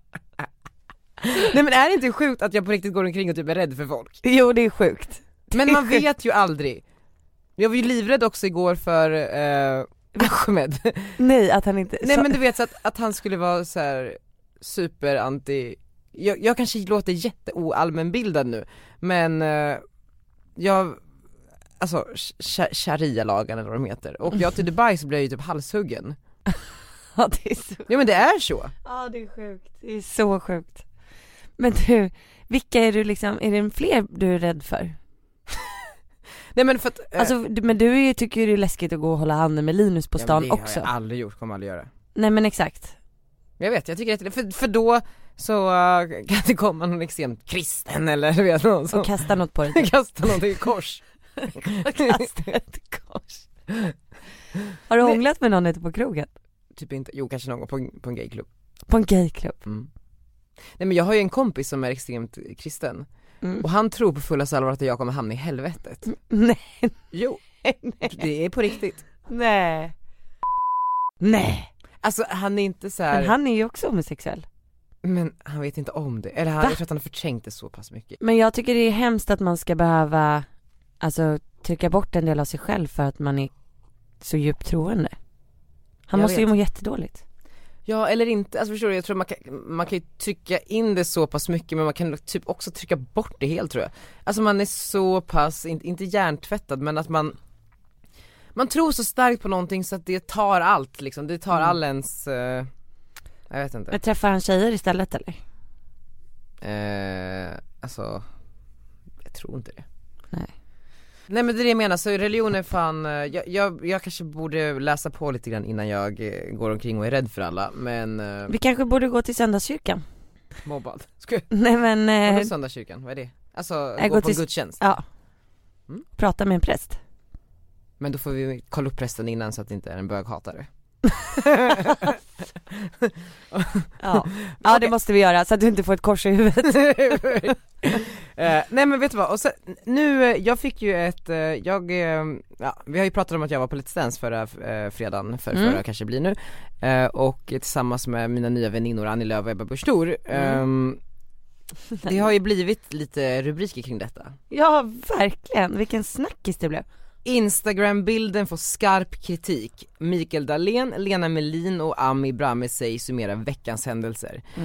Speaker 1: Nej men är det inte sjukt att jag på riktigt går omkring och typ är rädd för folk?
Speaker 3: Jo det är sjukt.
Speaker 1: Men
Speaker 3: Det är
Speaker 1: man
Speaker 3: sjukt.
Speaker 1: vet ju aldrig. Jag var ju livrädd också igår för eh, Ahmed.
Speaker 3: Nej att han inte,
Speaker 1: Nej
Speaker 3: så-
Speaker 1: men du vet så att, att han skulle vara så här superanti, jag, jag kanske låter jätteoallmänbildad nu men eh, jag, alltså sh- sh- sharia-lagen eller vad de heter, och jag till Dubai så blev jag ju typ halshuggen.
Speaker 3: ja, det är så
Speaker 1: Ja men det är så.
Speaker 3: Ja det är sjukt, det är så sjukt. Men du, vilka är du liksom, är det fler du är rädd för?
Speaker 1: Nej men för att, eh,
Speaker 3: Alltså du- men du är ju, tycker ju det är läskigt att gå och hålla handen med Linus på
Speaker 1: ja, men
Speaker 3: stan
Speaker 1: det
Speaker 3: också.
Speaker 1: har jag aldrig gjort, kommer aldrig göra.
Speaker 3: Nej men exakt.
Speaker 1: Jag vet, jag tycker det är, för, för då så eh, kan det komma någon extremt kristen eller du vet någon som
Speaker 3: Och kasta något på dig.
Speaker 1: kastar någonting i kors.
Speaker 3: kasta ett kors. Har du
Speaker 1: Nej.
Speaker 3: hånglat med någon ute på krogen?
Speaker 1: typ inte, jo kanske någon gång på, en- på en gayklubb.
Speaker 3: På en gayklubb?
Speaker 1: Mm. Nej men jag har ju en kompis som är extremt kristen
Speaker 3: Mm.
Speaker 1: och han tror på fullaste allvar att jag kommer hamna i helvetet.
Speaker 3: Nej.
Speaker 1: Jo, det är på riktigt.
Speaker 3: Nej. Nej.
Speaker 1: Alltså han är inte så här,
Speaker 3: Men
Speaker 1: men han,
Speaker 3: han är ju också homosexuell.
Speaker 1: vet inte om det. Eller han,
Speaker 3: Va?
Speaker 1: jag tror att han har förträngt det så pass mycket.
Speaker 3: Men jag tycker det är hemskt att man ska behöva, alltså trycka bort en del av sig själv för att man är så djupt troende. Han
Speaker 1: Jag
Speaker 3: måste ju
Speaker 1: vet.
Speaker 3: må jättedåligt.
Speaker 1: Ja eller inte, alltså förstår du, jag tror man kan, man kan ju trycka in det så pass mycket men man kan typ också trycka bort det helt tror jag. Alltså man är så pass, inte, inte hjärntvättad men att man man tror så starkt på någonting så att det tar allt liksom, det
Speaker 3: Mm.
Speaker 1: tar all ens, eh, jag vet inte.
Speaker 3: Men träffar han tjejer istället eller?
Speaker 1: Eh, alltså, jag tror inte det.
Speaker 3: Nej.
Speaker 1: Nej men det är det jag menar, så religion är fan, eh, jag, jag, jag kanske borde läsa på lite grann innan jag eh, går omkring och är rädd för alla, men eh,
Speaker 3: Vi kanske borde gå till söndagskyrkan.
Speaker 1: mobbad. Ska jag,
Speaker 3: Nej men,
Speaker 1: vadå
Speaker 3: eh,
Speaker 1: söndagskyrkan, vad är det? Alltså
Speaker 3: jag
Speaker 1: gå
Speaker 3: går
Speaker 1: på en
Speaker 3: till-
Speaker 1: gudstjänst.
Speaker 3: ja.
Speaker 1: Mm.
Speaker 3: Prata med en präst.
Speaker 1: Men då får vi kolla upp prästen innan så att det inte är en böghatare.
Speaker 3: Ja, ja det
Speaker 1: Okej.
Speaker 3: måste vi göra så att du inte får ett kors i huvudet.
Speaker 1: Eh, nej men vet du vad, och sen, nu, eh, jag fick ju ett, eh, jag, eh, ja, vi har ju pratat om att jag var på Let's Dance förra eh, fredagen, för,
Speaker 3: Mm.
Speaker 1: förra kanske det blir nu, eh, och tillsammans med mina nya väninnor Annie Lööf och Ebba Busch Thor, ehm, det har ju blivit lite rubriker kring detta.
Speaker 3: Ja verkligen, vilken snackis det blev.
Speaker 1: Instagram-bilden får skarp kritik, Mikael Dahlén, Lena Melin och Ami Brahmi sig summera veckans händelser. Eh,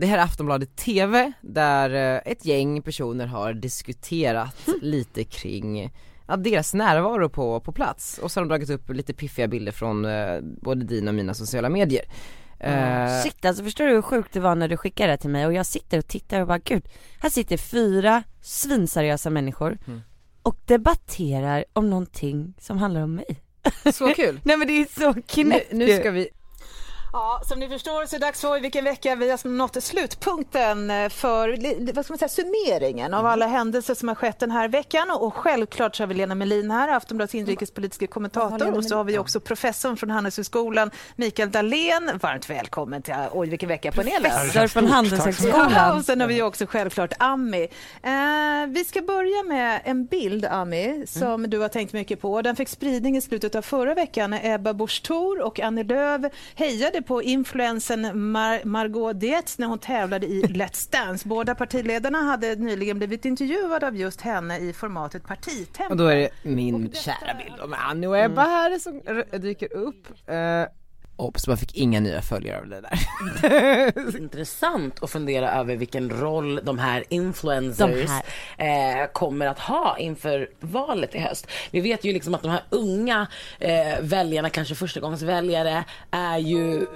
Speaker 1: Det här är Aftonbladet TV där eh, ett gäng personer har diskuterat lite kring ja, deras närvaro på, på plats och så har de dragit upp lite piffiga bilder från eh, både dina och mina sociala medier. Eh,
Speaker 3: Shit alltså förstår du hur sjukt det var när du skickade det till mig och jag sitter och tittar och bara gud, här sitter fyra svinseriösa människor och debatterar om någonting som handlar om mig.
Speaker 1: så kul!
Speaker 3: Nej men det är så
Speaker 1: Nu,
Speaker 3: knäppt
Speaker 1: nu
Speaker 3: ju.
Speaker 1: ska vi,
Speaker 4: Ja, som ni förstår så är det dags för vilken vecka vi har alltså nått slutpunkten för li- vad ska man säga, summeringen av alla händelser som har skett den här veckan. Och självklart så har vi Lena Melin här, Aftonbladets inrikespolitiska kommentator. Och så har vi också professorn från Handelshögskolan, Mikael Dahlén. Varmt välkommen till Oj vilken vecka-panelen.
Speaker 3: Professor från
Speaker 4: Ja,
Speaker 3: Handelshögskolan.
Speaker 4: och sen har vi ju också självklart Ami. Eh, vi ska börja med en bild, Ami, som du har tänkt mycket på. Den fick spridning i slutet av förra veckan när Ebba Busch Thor och Annie Lööf hejade på influensen Mar- Margot Dietz när hon tävlade i Let's Dance. Båda partiledarna hade nyligen blivit intervjuade av just henne i formatet Partitempo.
Speaker 1: och då är det Mm. min kära bild av Annie och Ebba här som r- dyker upp. Eh, Obs, man fick inga nya följare av det där.
Speaker 5: intressant att fundera över vilken roll de här influencers Eh, kommer att ha inför valet i höst. Vi vet ju liksom att de här unga eh, väljarna, kanske förstagångsväljare, är ju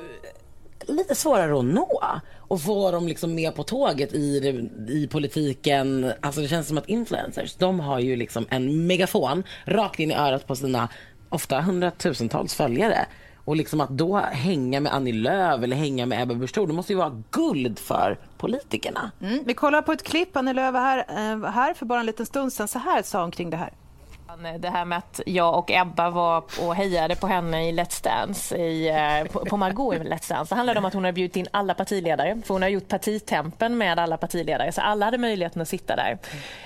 Speaker 5: lite svårare att nå och få dem liksom med på tåget i, det- i politiken. Alltså det känns som att influencers, de har ju liksom en megafon rakt in i örat på sina ofta hundratusentals följare Och liksom att då hänga med Annie Lööf eller hänga med Ebba Busch Thor, det måste ju vara guld för politikerna.
Speaker 4: Mm. Vi kollar på ett klipp. Annie Lööf var här, eh, var här för bara en liten stund sedan. Så här sa hon kring det här.
Speaker 11: Det här med att jag och Ebba var och hejade på henne i Let's Dance, i, eh, på- på Margot i Let's Dance. Det handlade om att hon hade bjudit in alla partiledare, för hon har gjort partitempen med alla partiledare, så alla hade möjligheten att sitta där.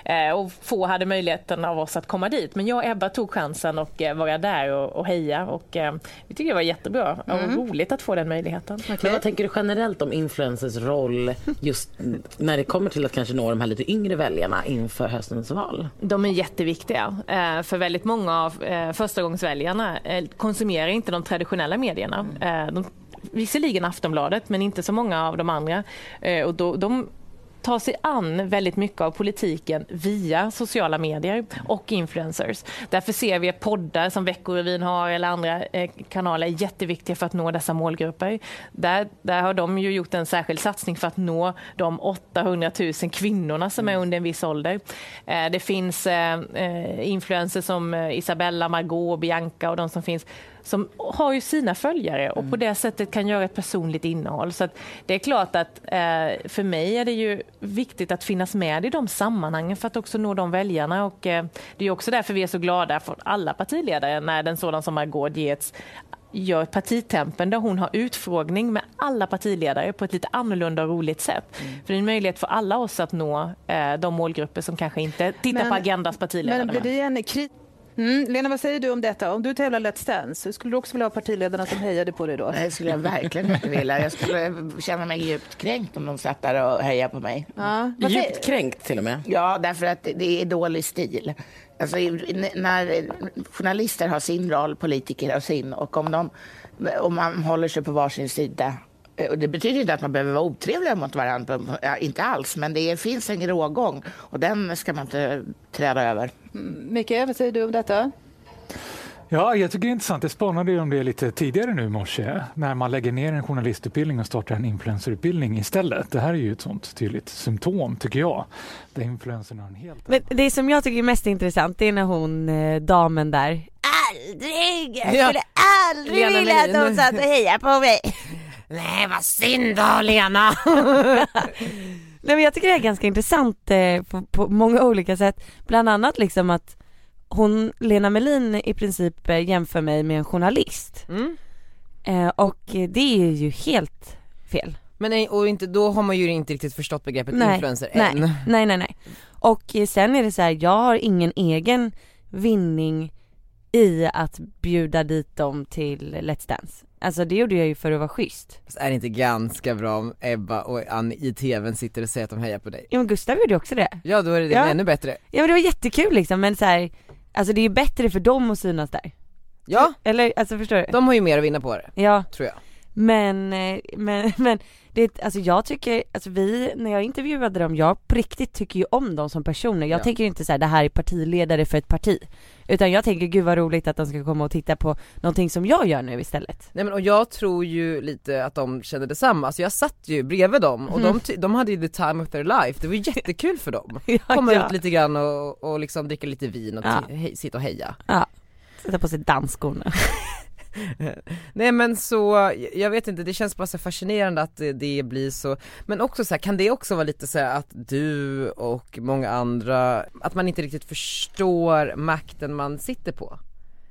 Speaker 11: Eh, Och få hade möjligheten av oss att komma dit. Men jag och Ebba tog chansen och eh, vara där och, och heja och eh, vi tyckte det var jättebra och roligt att få den möjligheten.
Speaker 5: Men vad tänker du generellt om influencers roll just när det kommer till att kanske nå de här lite yngre väljarna inför höstens val?
Speaker 11: De är jätteviktiga. eh, För väldigt många av eh, förstagångsväljarna eh, konsumerar inte de traditionella medierna. Eh, De, visserligen Aftonbladet, men inte så många av de andra. Eh, Och då, de tar sig an väldigt mycket av politiken via sociala medier och influencers. Därför ser vi att poddar som Veckorevyn har eller andra eh, kanaler är jätteviktiga för att nå dessa målgrupper. Där, där har de ju gjort en särskild satsning för att nå de 800 000 kvinnorna som
Speaker 4: Mm.
Speaker 11: är under en viss ålder. Eh, Det finns eh, eh, influencers som eh, Isabella, Margot, Bianca och de som finns som har ju sina följare och på det sättet kan göra ett personligt innehåll. Så att det är klart att eh, för mig är det ju viktigt att finnas med i de sammanhangen för att också nå de väljarna. Och, eh, det är ju också därför vi är så glada för alla partiledare när den sådan som Margot Dietz gör partitempen där hon har utfrågning med alla partiledare på ett lite annorlunda och roligt sätt.
Speaker 4: Mm.
Speaker 11: För det är en möjlighet för alla oss att nå eh, de målgrupper som kanske inte tittar
Speaker 4: Men-
Speaker 11: på Agendas partiledare.
Speaker 4: Men blir det en kri- Mm. Lena, vad säger du om detta? Om du tävlar Let's Dance, skulle du också vilja ha partiledarna som hejade på dig då?
Speaker 12: Nej, det skulle jag verkligen inte vilja. Jag skulle eh, känna mig djupt kränkt om de satt där och hejade på mig.
Speaker 4: Ja. Vad säger-
Speaker 5: Djupt kränkt till och med.
Speaker 12: Ja, därför att det är dålig stil. Alltså, n- när journalister har sin roll, politiker har sin. Och om, de, om man håller sig på varsin sida. eh, Och det betyder inte att man behöver vara otrevliga mot varandra, ja, inte alls. Men det finns en grågång och den ska man inte träda över.
Speaker 4: Mikael, vad säger du om detta?
Speaker 13: Ja, jag tycker det är intressant. Jag spanade ju om det lite tidigare nu i morse, när man lägger ner en journalistutbildning och startar en influencerutbildning istället. Det här är ju ett sånt tydligt symptom, tycker jag, där influencerna har en helt
Speaker 3: Men det som jag tycker är mest intressant det är när hon, eh, damen där Aldrig! Jag skulle aldrig
Speaker 7: Lena
Speaker 3: vilja att
Speaker 7: Melin.
Speaker 3: de satt och hejade på mig! Nej vad synd då Lena! Nej men jag tycker det är ganska intressant eh, på, på många olika sätt. Bland annat liksom att hon, Lena Melin i princip eh, jämför mig med en journalist. Eh, och eh, det är ju helt fel.
Speaker 1: Men nej, och inte, då har man ju inte riktigt förstått begreppet influencer än.
Speaker 3: nej, nej, nej, nej. Och eh, sen är det så här, jag har ingen egen vinning i att bjuda dit dem till Let's Dance. Alltså det gjorde jag ju för att vara schysst.
Speaker 1: Fast är det inte ganska bra om Ebba och Annie i tvn sitter och säger att de hejar på dig?
Speaker 3: Ja men Gustav gjorde också det.
Speaker 1: Ja då är det
Speaker 3: Ja.
Speaker 1: ännu bättre.
Speaker 3: Ja men det var jättekul liksom men så här, alltså det är ju bättre för dem att synas där.
Speaker 1: Ja,
Speaker 3: Eller alltså förstår du?
Speaker 1: de har ju mer att vinna på det,
Speaker 3: Ja.
Speaker 1: tror jag.
Speaker 3: Men, eh, men, men det, alltså jag tycker, alltså vi, när jag intervjuade dem, jag på riktigt tycker ju om dem som personer. Jag
Speaker 1: Ja.
Speaker 3: tänker ju inte såhär, det här är partiledare för ett parti. Utan jag tänker, gud vad roligt att de ska komma och titta på någonting som jag gör nu istället.
Speaker 1: Nej men och jag tror ju lite att de känner detsamma, så jag satt ju bredvid dem och
Speaker 3: Mhm.
Speaker 1: de, ty- de hade ju the time of their life, det var ju jättekul för dem. Komma ut lite grann och, och liksom dricka lite vin och
Speaker 3: Ja.
Speaker 1: ti- hej, sitta och heja.
Speaker 3: Ja. Sätta på sig dansskorna.
Speaker 1: Nej men så, jag vet inte, det känns bara så fascinerande att det, det blir så, men också så här, kan det också vara lite så här att du och många andra, att man inte riktigt förstår makten man sitter på?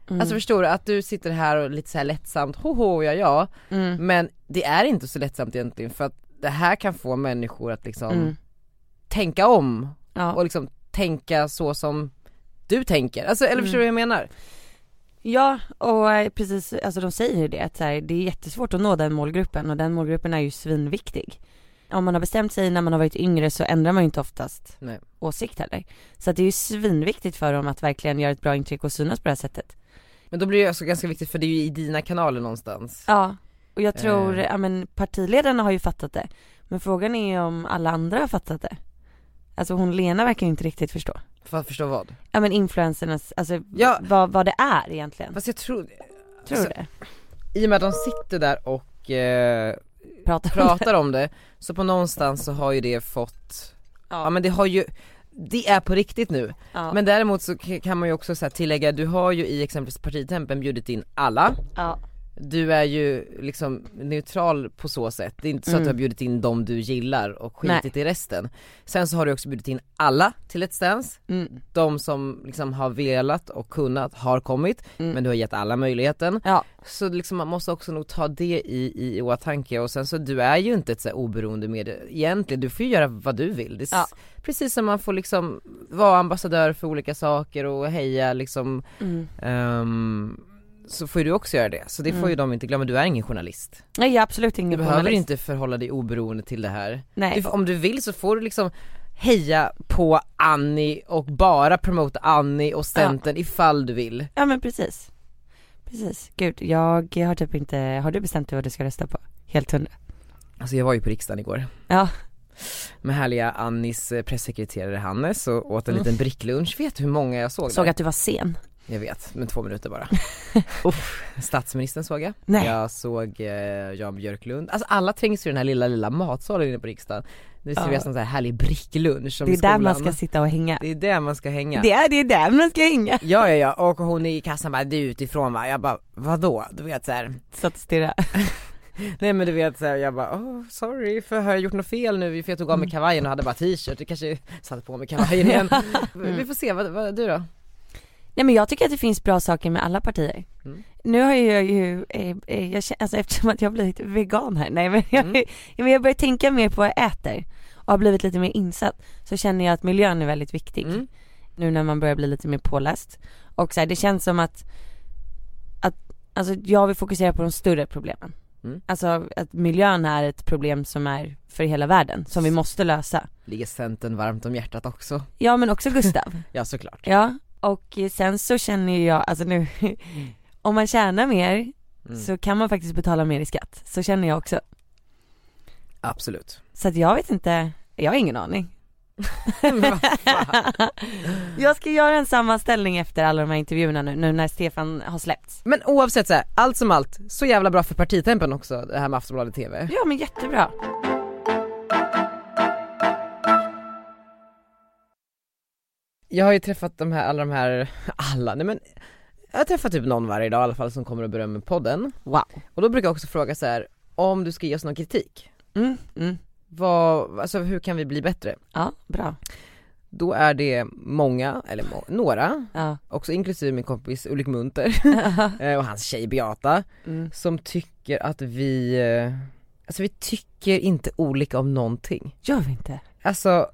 Speaker 3: Mm.
Speaker 1: Alltså förstår du, att du sitter här och lite så här lättsamt, hoho ja ja,
Speaker 3: Mm.
Speaker 1: men det är inte så lättsamt egentligen för att det här kan få människor att liksom
Speaker 3: Mm.
Speaker 1: tänka om
Speaker 3: Ja.
Speaker 1: och liksom tänka så som du tänker, alltså
Speaker 3: Mm.
Speaker 1: eller förstår du vad jag menar?
Speaker 3: Ja, och eh, precis, alltså de säger ju det att så här, det är jättesvårt att nå den målgruppen och den målgruppen är ju svinviktig. Om man har bestämt sig när man har varit yngre så ändrar man ju inte oftast
Speaker 1: Nej.
Speaker 3: åsikt heller. Så att det är ju svinviktigt för dem att verkligen göra ett bra intryck och synas på det här sättet.
Speaker 1: Men då blir det ju också ganska viktigt för det är ju i dina kanaler någonstans.
Speaker 3: Ja, och jag tror,
Speaker 1: Eh.
Speaker 3: ja men partiledarna har ju fattat det. Men frågan är ju om alla andra har fattat det. Alltså hon Lena verkar ju inte riktigt förstå.
Speaker 1: För att förstå vad?
Speaker 3: Ja men influencernas, alltså
Speaker 1: Ja. alltså,
Speaker 3: vad, vad det är egentligen.
Speaker 1: Fast jag tror,
Speaker 3: tror du det?
Speaker 1: i och med att de sitter där och eh,
Speaker 3: Pratar om det?
Speaker 1: pratar om det, så på någonstans så har ju det fått, ja, men det har ju, det är på riktigt nu.
Speaker 3: Ja.
Speaker 1: Men däremot så k- kan man ju också så här tillägga, du har ju i exempelvis partitempen bjudit in alla,
Speaker 3: ja.
Speaker 1: du är ju liksom neutral på så sätt, det är inte så att du har
Speaker 3: Mm.
Speaker 1: bjudit in dem du gillar och
Speaker 3: Nej.
Speaker 1: skitit i resten. Sen så har du också bjudit in alla till Let's Dance,
Speaker 3: Mm.
Speaker 1: de som liksom har velat och kunnat har kommit,
Speaker 3: Mm.
Speaker 1: men du har gett alla möjligheten. Så liksom man måste också nog ta det i, i åtanke och sen så du är ju inte ett så här oberoende medie egentligen, du får ju göra vad du vill. Det är s- Precis som man får liksom vara ambassadör för olika saker och heja liksom
Speaker 3: Mm.
Speaker 1: Ehm, så får ju du också göra det, så det får ju
Speaker 3: Mm.
Speaker 1: de inte glömma, du är ingen journalist.
Speaker 3: Nej jag är absolut ingen
Speaker 1: Du behöver
Speaker 3: journalist.
Speaker 1: inte förhålla dig oberoende till det här.
Speaker 3: Nej.
Speaker 1: Du, om du vill så får du liksom heja på Annie och bara promota Annie och Centern ifall du vill.
Speaker 3: Ja men precis. Precis. Gud, jag har typ inte, har du bestämt dig vad du ska rösta på? Helt hundra.
Speaker 1: Alltså jag var ju på riksdagen igår.
Speaker 3: Ja.
Speaker 1: Med härliga Annis eh, pressekreterare Hannes och åt en
Speaker 3: Mm.
Speaker 1: liten bricklunch. Vet du hur många jag såg
Speaker 3: Såg
Speaker 1: där?
Speaker 3: att du var sen.
Speaker 1: Jag vet, men två minuter bara. Uff, statsministern såg jag.
Speaker 3: Nej.
Speaker 1: Jag såg eh, Jan Björklund. Alltså alla trängs i den här lilla, lilla matsalen inne på riksdagen. Det serveras
Speaker 3: Ja.
Speaker 1: någon sån här härlig bricklunch som
Speaker 3: det är
Speaker 1: i skolan.
Speaker 3: där man ska sitta och hänga.
Speaker 1: Det är där man ska hänga.
Speaker 3: Det är, det är där man ska hänga.
Speaker 1: Ja, ja, ja. Och hon i kassan bara, du är utifrån va? Jag bara, vadå? Du vet såhär.
Speaker 3: Satt och stirrade.
Speaker 1: Nej men du vet såhär, jag bara, oh, sorry för har jag gjort något fel nu? För jag tog av mig kavajen och hade bara t-shirt. Jag kanske satte på mig kavajen igen. Vi får se, vad, vad du då?
Speaker 3: Nej men jag tycker att det finns bra saker med alla partier.
Speaker 1: Mm.
Speaker 3: Nu har ju jag ju, eh, eh, jag känner, alltså eftersom att jag har blivit vegan här, nej men jag,
Speaker 1: Mm.
Speaker 3: ja, men jag börjar tänka mer på vad jag äter och har blivit lite mer insatt så känner jag att miljön är väldigt viktig.
Speaker 1: Mm.
Speaker 3: Nu när man börjar bli lite mer påläst. Och så här, det känns som att, att, alltså jag vill fokusera på de större problemen.
Speaker 1: Mm.
Speaker 3: Alltså att miljön är ett problem som är för hela världen, som vi måste lösa.
Speaker 1: Ligger Centern varmt om hjärtat också?
Speaker 3: Ja men också Gustav.
Speaker 1: Ja såklart.
Speaker 3: Ja, och sen så känner ju jag, alltså nu, om man tjänar mer
Speaker 1: Mm.
Speaker 3: så kan man faktiskt betala mer i skatt. Så känner jag också.
Speaker 1: Absolut.
Speaker 3: Så att jag vet inte, jag har ingen aning. jag ska göra en sammanställning efter alla de här intervjuerna nu, nu när Stefan har släppts.
Speaker 1: Men oavsett så här, allt som allt, så jävla bra för partitempen också det här med Aftonbladet TV.
Speaker 3: Ja men jättebra.
Speaker 1: Jag har ju träffat de här, alla de här, alla, nej men jag har träffat typ någon varje dag i alla fall som kommer och berömmer podden.
Speaker 3: Wow.
Speaker 1: Och då brukar jag också fråga så här, om du ska ge oss någon kritik,
Speaker 3: Mm, mm.
Speaker 1: vad, alltså hur kan vi bli bättre?
Speaker 3: Ja, bra.
Speaker 1: Då är det många, eller må, några,
Speaker 3: Ja.
Speaker 1: också inklusive min kompis Ulrik Munter eh, och hans tjej Beata,
Speaker 3: Mm.
Speaker 1: som tycker att vi, eh, alltså vi tycker inte olika om någonting.
Speaker 3: Gör vi inte?
Speaker 1: Alltså,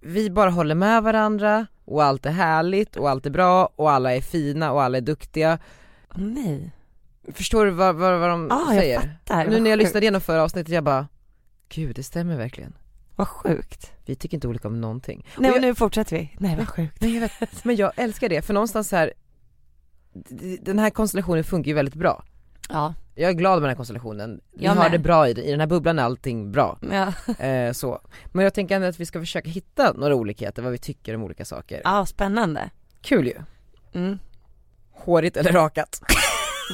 Speaker 1: vi bara håller med varandra och allt är härligt och allt är bra och alla är fina och alla är duktiga.
Speaker 3: Åh, nej.
Speaker 1: Förstår du vad, vad, vad de
Speaker 3: Ah, jag
Speaker 1: säger?
Speaker 3: fattar.
Speaker 1: Nu
Speaker 3: Vad
Speaker 1: när jag
Speaker 3: sjukt.
Speaker 1: lyssnade igenom förra avsnittet jag bara, gud det stämmer verkligen.
Speaker 3: Vad sjukt.
Speaker 1: Vi tycker inte olika om någonting.
Speaker 3: Nej
Speaker 1: Och
Speaker 3: men
Speaker 1: jag,
Speaker 3: nu fortsätter vi. Nej vad sjukt.
Speaker 1: Nej, jag vet, men jag älskar det för någonstans här, d- d- den här konstellationen funkar ju väldigt bra.
Speaker 3: Ja.
Speaker 1: Jag är glad med den här konstellationen, vi
Speaker 3: Jag
Speaker 1: har
Speaker 3: med.
Speaker 1: det bra i, den- i den här bubblan är allting bra.
Speaker 3: Ja,
Speaker 1: Eh, så. Men jag tänker ändå att vi ska försöka hitta några olikheter, vad vi tycker om olika saker.
Speaker 3: ja spännande.
Speaker 1: Kul ju.
Speaker 3: Mm.
Speaker 1: Hårigt eller rakat?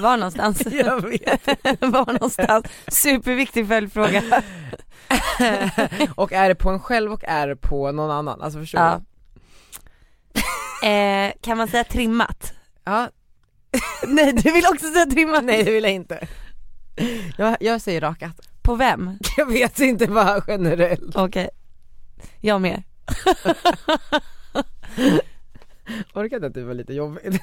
Speaker 3: Var någonstans?
Speaker 1: Jag vet.
Speaker 3: Var någonstans? Superviktig följdfråga.
Speaker 1: och är det på en själv och är det på någon annan? Alltså förstår
Speaker 3: Ja.
Speaker 1: du?
Speaker 3: Eh, kan man säga trimmat?
Speaker 1: Ja.
Speaker 3: Nej du vill också säga trimmat?
Speaker 1: Nej det vill jag inte. Jag, jag säger rakat.
Speaker 3: På vem?
Speaker 1: Jag vet inte bara generellt.
Speaker 3: Okej. Jag med.
Speaker 1: Orkade att det var lite jobbigt.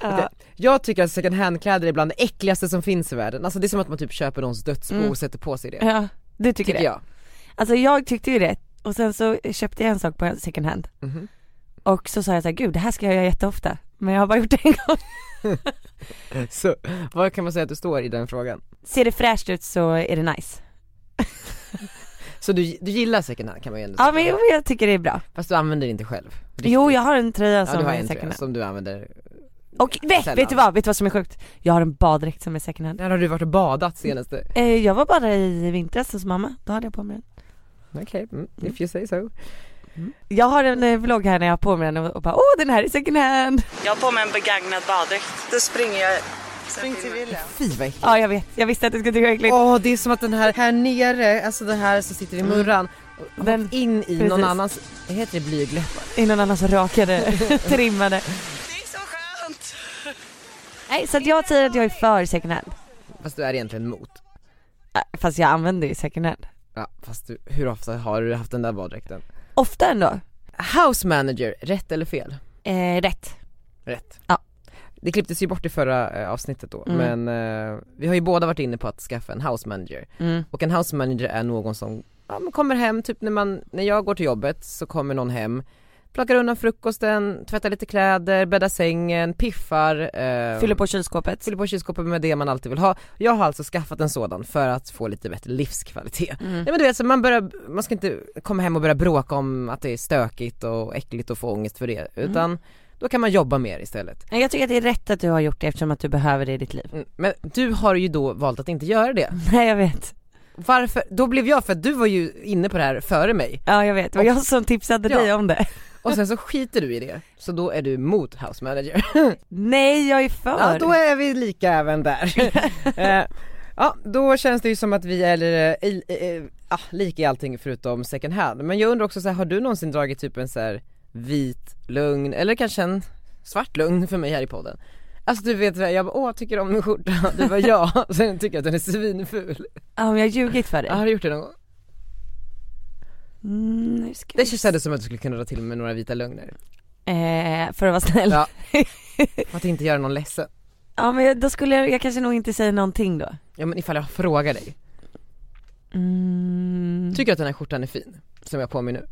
Speaker 3: Ja.
Speaker 1: Jag tycker att second hand kläder är bland det äckligaste som finns i världen. Alltså det är som att man typ köper någons dödsbo
Speaker 3: Mm.
Speaker 1: och sätter på sig det.
Speaker 3: ja, du tycker,
Speaker 1: tycker
Speaker 3: det?
Speaker 1: jag.
Speaker 3: Alltså jag tyckte ju det och sen så köpte jag en sak på second hand
Speaker 1: Mhm.
Speaker 3: och så sa jag så här, gud det här ska jag göra jätteofta men jag har bara gjort det en gång.
Speaker 1: Så vad kan man säga att du står i den frågan?
Speaker 3: Ser det fräscht ut så är det nice.
Speaker 1: Så du, du gillar second hand kan man ju ändå säga.
Speaker 3: Ja men jo, jag tycker det är bra.
Speaker 1: Fast du använder det inte själv. Riktigt.
Speaker 3: Jo jag har en tröja
Speaker 1: ja,
Speaker 3: som
Speaker 1: du har
Speaker 3: är
Speaker 1: en
Speaker 3: second
Speaker 1: tröja
Speaker 3: hand.
Speaker 1: som du använder.
Speaker 3: Och nej,
Speaker 1: Sällan.
Speaker 3: vet du vad, vet du vad som är sjukt? Jag har en baddräkt som är second hand.
Speaker 1: När har du varit och badat senaste?
Speaker 3: Eh, jag var bara i vintras hos mamma, då hade jag på mig den.
Speaker 1: Okej, mm, if you say so.
Speaker 3: Jag har en eh, vlogg här när jag har på mig den och, och bara åh den här är second hand.
Speaker 14: Jag har på mig en begagnad baddräkt. Då springer jag. Spring till William.
Speaker 1: Fy vad äckligt.
Speaker 3: Ja jag vet, jag visste att du skulle tycka det var äckligt.
Speaker 1: Åh oh, det är som att den här, här nere, alltså den här som sitter i murran, den in i
Speaker 3: Precis.
Speaker 1: någon annans, heter det blygläppar?
Speaker 3: Är någon annan som rakade, trimmade.
Speaker 14: Det är så skönt.
Speaker 3: Nej så att jag säger att jag är för second hand.
Speaker 1: Fast du är egentligen mot.
Speaker 3: Fast jag använder ju second hand.
Speaker 1: Ja, fast du, hur ofta har du haft den där baddräkten?
Speaker 3: Ofta ändå.
Speaker 1: House manager, rätt eller fel?
Speaker 3: Eh, rätt.
Speaker 1: Rätt.
Speaker 3: Ja.
Speaker 1: Det klipptes ju bort i förra eh, avsnittet då,
Speaker 3: Mm.
Speaker 1: men eh, vi har ju båda varit inne på att skaffa en house manager.
Speaker 3: Mm.
Speaker 1: Och en house manager är någon som ja, men kommer hem, typ när, man, när jag går till jobbet så kommer någon hem, plockar undan frukosten, tvättar lite kläder, bäddar sängen, piffar. Eh,
Speaker 3: Fyller på kylskåpet.
Speaker 1: Fyller på kylskåpet med det man alltid vill ha. Jag har alltså skaffat en sådan för att få lite bättre livskvalitet.
Speaker 3: Mm.
Speaker 1: Nej men du vet så man börjar, man ska inte komma hem och börja bråka om att det är stökigt och äckligt och få ångest för det utan
Speaker 3: Mm.
Speaker 1: då kan man jobba mer istället.
Speaker 3: Nej, Jag tycker att det är rätt att du har gjort det eftersom att du behöver det i ditt liv.
Speaker 1: Mm, Men du har ju då valt att inte göra det.
Speaker 3: Nej jag vet.
Speaker 1: Varför? Då blev jag, för att du var ju inne på det här före mig.
Speaker 3: Ja jag vet, det var
Speaker 1: Och-
Speaker 3: jag som tipsade
Speaker 1: Ja.
Speaker 3: dig om det.
Speaker 1: Och sen så skiter du i det, så då är du emot house manager.
Speaker 3: Nej jag är för.
Speaker 1: Ja då är vi lika även där. Eh, ja då känns det ju som att vi är eh, i- eh, ah, lika i allting förutom second hand. Men jag undrar också så här, har du någonsin dragit typ en så här vit lugn eller kanske en svart lugn för mig här i podden? Alltså du vet, jag bara, åh tycker du om min skjorta? Du bara ja, sen tycker jag att den är svinful.
Speaker 3: Ja men jag har ljugit för dig.
Speaker 1: Ja, har du gjort det någon gång?
Speaker 3: Mm, nu ska
Speaker 1: Det
Speaker 3: vi
Speaker 1: känns ändå som att du skulle kunna dra till med några vita lögner.
Speaker 3: Eh, för att vara snäll.
Speaker 1: Ja.
Speaker 3: Ja,
Speaker 1: För att inte göra någon ledsen.
Speaker 3: men jag, då skulle jag, jag kanske nog inte säga någonting då.
Speaker 1: Ja men ifall jag frågar dig,
Speaker 3: Mm.
Speaker 1: tycker du att den här skjortan är fin? Som jag har på mig nu?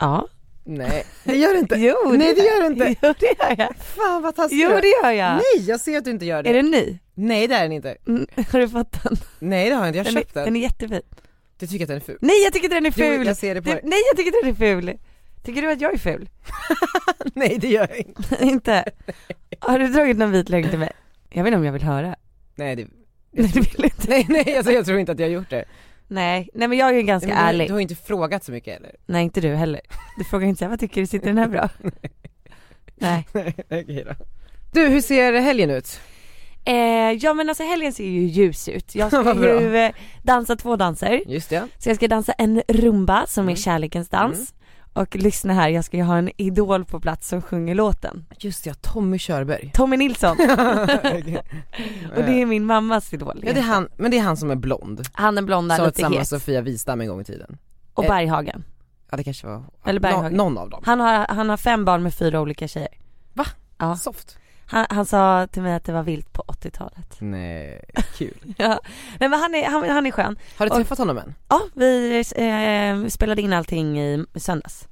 Speaker 3: Ja.
Speaker 1: Nej, det gör det inte.
Speaker 3: Jo,
Speaker 1: Nej det gör det inte.
Speaker 3: Jo det gör jag.
Speaker 1: Fan vad taskig
Speaker 3: Jo
Speaker 1: du är.
Speaker 3: det gör jag.
Speaker 1: Nej jag ser att du inte gör det.
Speaker 3: Är den ny?
Speaker 1: Nej det är den inte.
Speaker 3: Mm, har du fått den?
Speaker 1: Nej det har jag inte, jag har
Speaker 3: Den är,
Speaker 1: köpt
Speaker 3: den
Speaker 1: den.
Speaker 3: är jättefin.
Speaker 1: Du tycker att den är ful?
Speaker 3: Nej jag tycker den är
Speaker 1: Jo,
Speaker 3: ful.
Speaker 1: jag ser det på
Speaker 3: du,
Speaker 1: dig.
Speaker 3: nej jag tycker den är ful. Tycker du att jag är ful?
Speaker 1: Nej det gör jag inte.
Speaker 3: inte? Har du dragit någon vit lögn till mig? Jag vet inte om jag vill höra.
Speaker 1: Nej det...
Speaker 3: Nej du vill inte?
Speaker 1: Nej nej alltså, jag tror inte att jag har gjort det.
Speaker 3: Nej, nej men jag är ju ganska
Speaker 1: Nej, men du,
Speaker 3: ärlig.
Speaker 1: du har ju inte frågat så mycket heller.
Speaker 3: Nej inte du heller. Du frågar inte såhär, vad tycker du, sitter den här bra? nej.
Speaker 1: Okej då. Du hur ser helgen ut?
Speaker 3: Eh, ja men alltså helgen ser ju ljus ut. Jag ska
Speaker 1: Vad bra.
Speaker 3: ju eh, dansa två danser.
Speaker 1: Just det.
Speaker 3: Så jag ska dansa en rumba som
Speaker 1: Mm.
Speaker 3: är kärlekens dans. Och lyssna här, jag ska ju ha en idol på plats som sjunger låten.
Speaker 1: Just det, ja, Tommy Körberg.
Speaker 3: Tommy Nilsson.
Speaker 1: Okej.
Speaker 3: och det är min mammas idol.
Speaker 1: Ja det är han, men det är han som är blond.
Speaker 3: Han är blond,
Speaker 1: Som var
Speaker 3: lite
Speaker 1: tillsammans med
Speaker 3: het.
Speaker 1: Sofia Wistam en gång i tiden.
Speaker 3: Och Berghagen.
Speaker 1: Ja det kanske var,
Speaker 3: Eller Berghagen.
Speaker 1: Nå- någon av dem.
Speaker 3: Han har, han har fem barn med fyra olika tjejer.
Speaker 1: Va?
Speaker 3: Ja.
Speaker 1: Soft.
Speaker 3: Han, han sa till mig att det var vilt på 80-talet.
Speaker 1: Nej, kul.
Speaker 3: Ja. Nej men han är, han, han är skön.
Speaker 1: Har du
Speaker 3: Och-
Speaker 1: träffat honom än?
Speaker 3: Ja, vi eh, spelade in allting i söndags.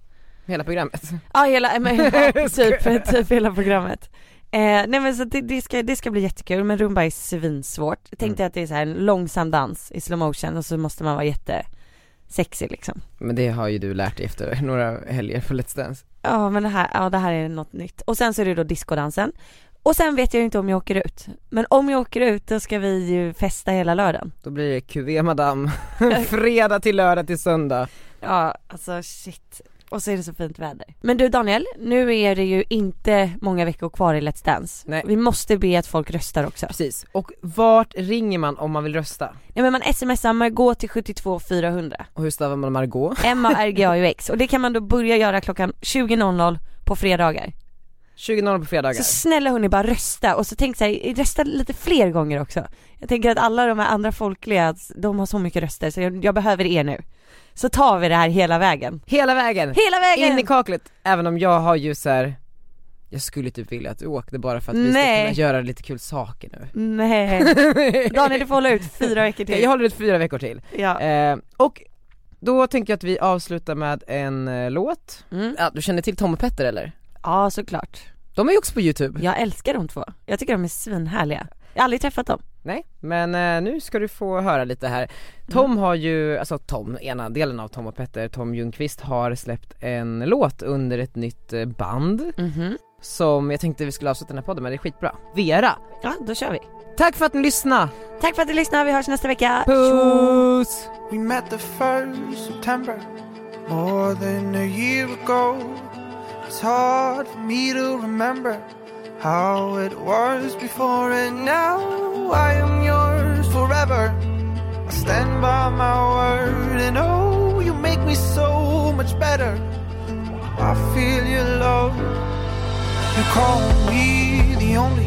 Speaker 1: Hela programmet?
Speaker 3: Ja hela, eh, men, ja, typ, typ hela programmet. Eh, nej men så det, det, ska, det ska bli jättekul men rumba är svinsvårt. Jag tänkte att det är så här en långsam dans i slow motion och så måste man vara jättesexig liksom.
Speaker 1: Men det har ju du lärt dig efter några helger på Let's Dance.
Speaker 3: Ja men det här, ja, det här är något nytt. Och sen så är det då discodansen. Och sen vet jag ju inte om jag åker ut. Men om jag åker ut då ska vi ju festa hela lördagen.
Speaker 1: Då blir det QV madame, fredag till lördag till söndag.
Speaker 3: Ja alltså shit. Och så är det så fint väder. Men du Daniel, nu är det ju inte många veckor kvar i Let's Dance.
Speaker 1: Nej.
Speaker 3: Vi måste be att folk röstar också.
Speaker 1: Precis, och vart ringer man om man vill rösta?
Speaker 3: Nej men man smsar Margaux till 72 400.
Speaker 1: Och hur stavar man Margot?
Speaker 3: M-A-R-G-A-U-X. Och det kan man då börja göra klockan 20.00 på fredagar.
Speaker 1: 20.00 på fredagar.
Speaker 3: Så snälla hörni bara rösta och så tänk så här, rösta lite fler gånger också. Jag tänker att alla de här andra folkliga, de har så mycket röster så jag, jag behöver er nu. Så tar vi det här hela vägen.
Speaker 1: Hela vägen!
Speaker 3: Hela vägen!
Speaker 1: In i kaklet! Även om jag har ju så här. jag skulle typ vilja att du åkte bara för att vi
Speaker 3: Nej.
Speaker 1: ska kunna göra lite kul saker nu.
Speaker 3: Nej. Daniel du får hålla ut fyra veckor till.
Speaker 1: Jag håller ut fyra veckor till.
Speaker 3: Ja.
Speaker 1: Eh, och då tänker jag att vi avslutar med en eh, låt.
Speaker 3: Mm.
Speaker 1: Ja, du känner till Tom och Petter eller?
Speaker 3: ja såklart.
Speaker 1: De är ju också på youtube.
Speaker 3: Jag älskar de två. Jag tycker de är svinhärliga. Jag har aldrig träffat dem.
Speaker 1: Nej, men eh, nu ska du få höra lite här. Tom har ju, alltså Tom, ena delen av Tom och Petter, Tom Ljungqvist har släppt en låt under ett nytt eh, band
Speaker 3: Mhm.
Speaker 1: som jag tänkte vi skulle avsluta den här podden med, det är skitbra. Vera!
Speaker 3: Ja då kör vi.
Speaker 1: Tack för att ni lyssnade!
Speaker 3: Tack för att ni lyssnade, vi hörs nästa vecka.
Speaker 1: Puss!
Speaker 15: We met the first September, more than a year ago. It's hard for me to remember how it was before, and now I am yours forever. I stand by my word, and oh, you make me so much better. I feel your love. You call me the only,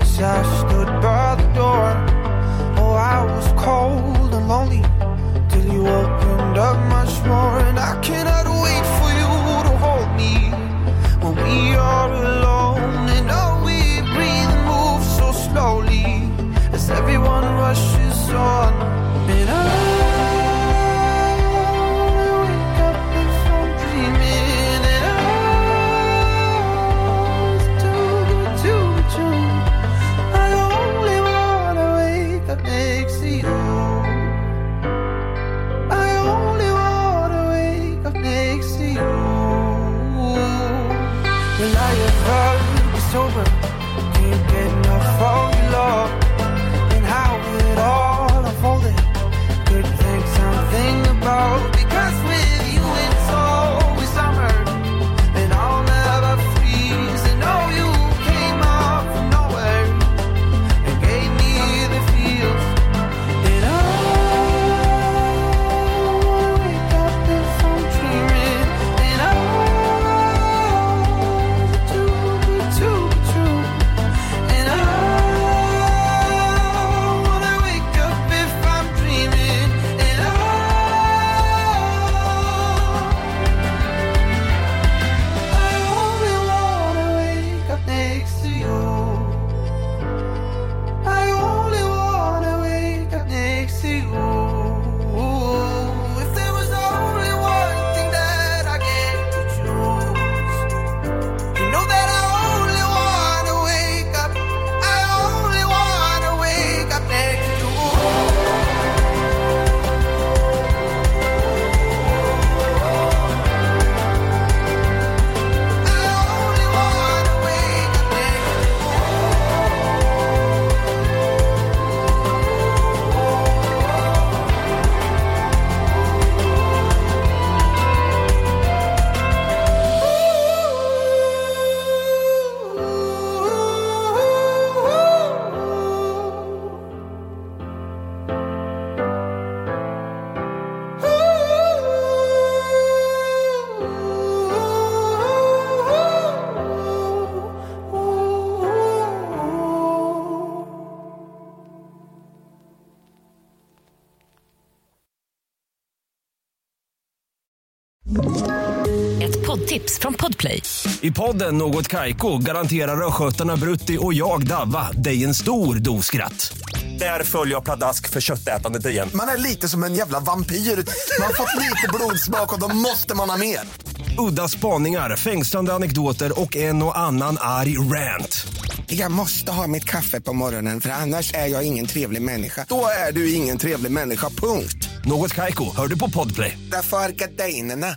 Speaker 15: as I stood by the door.
Speaker 16: poddtips från Podplay. I podden Något Kaiko garanterar östgötarna Brutti och jag, Davva, dig en stor dos skratt. Där följer jag pladask för köttätandet igen.
Speaker 6: Man är lite som en jävla vampyr. Man har fått lite blodsmak och då måste man ha mer.
Speaker 16: Udda spaningar, fängslande anekdoter och en och annan arg rant.
Speaker 17: Jag måste ha mitt kaffe på morgonen för annars är jag ingen trevlig människa.
Speaker 6: Då är du ingen trevlig människa, punkt.
Speaker 16: Något Kaiko, hör du på Podplay.
Speaker 17: Därför arkadeinerna.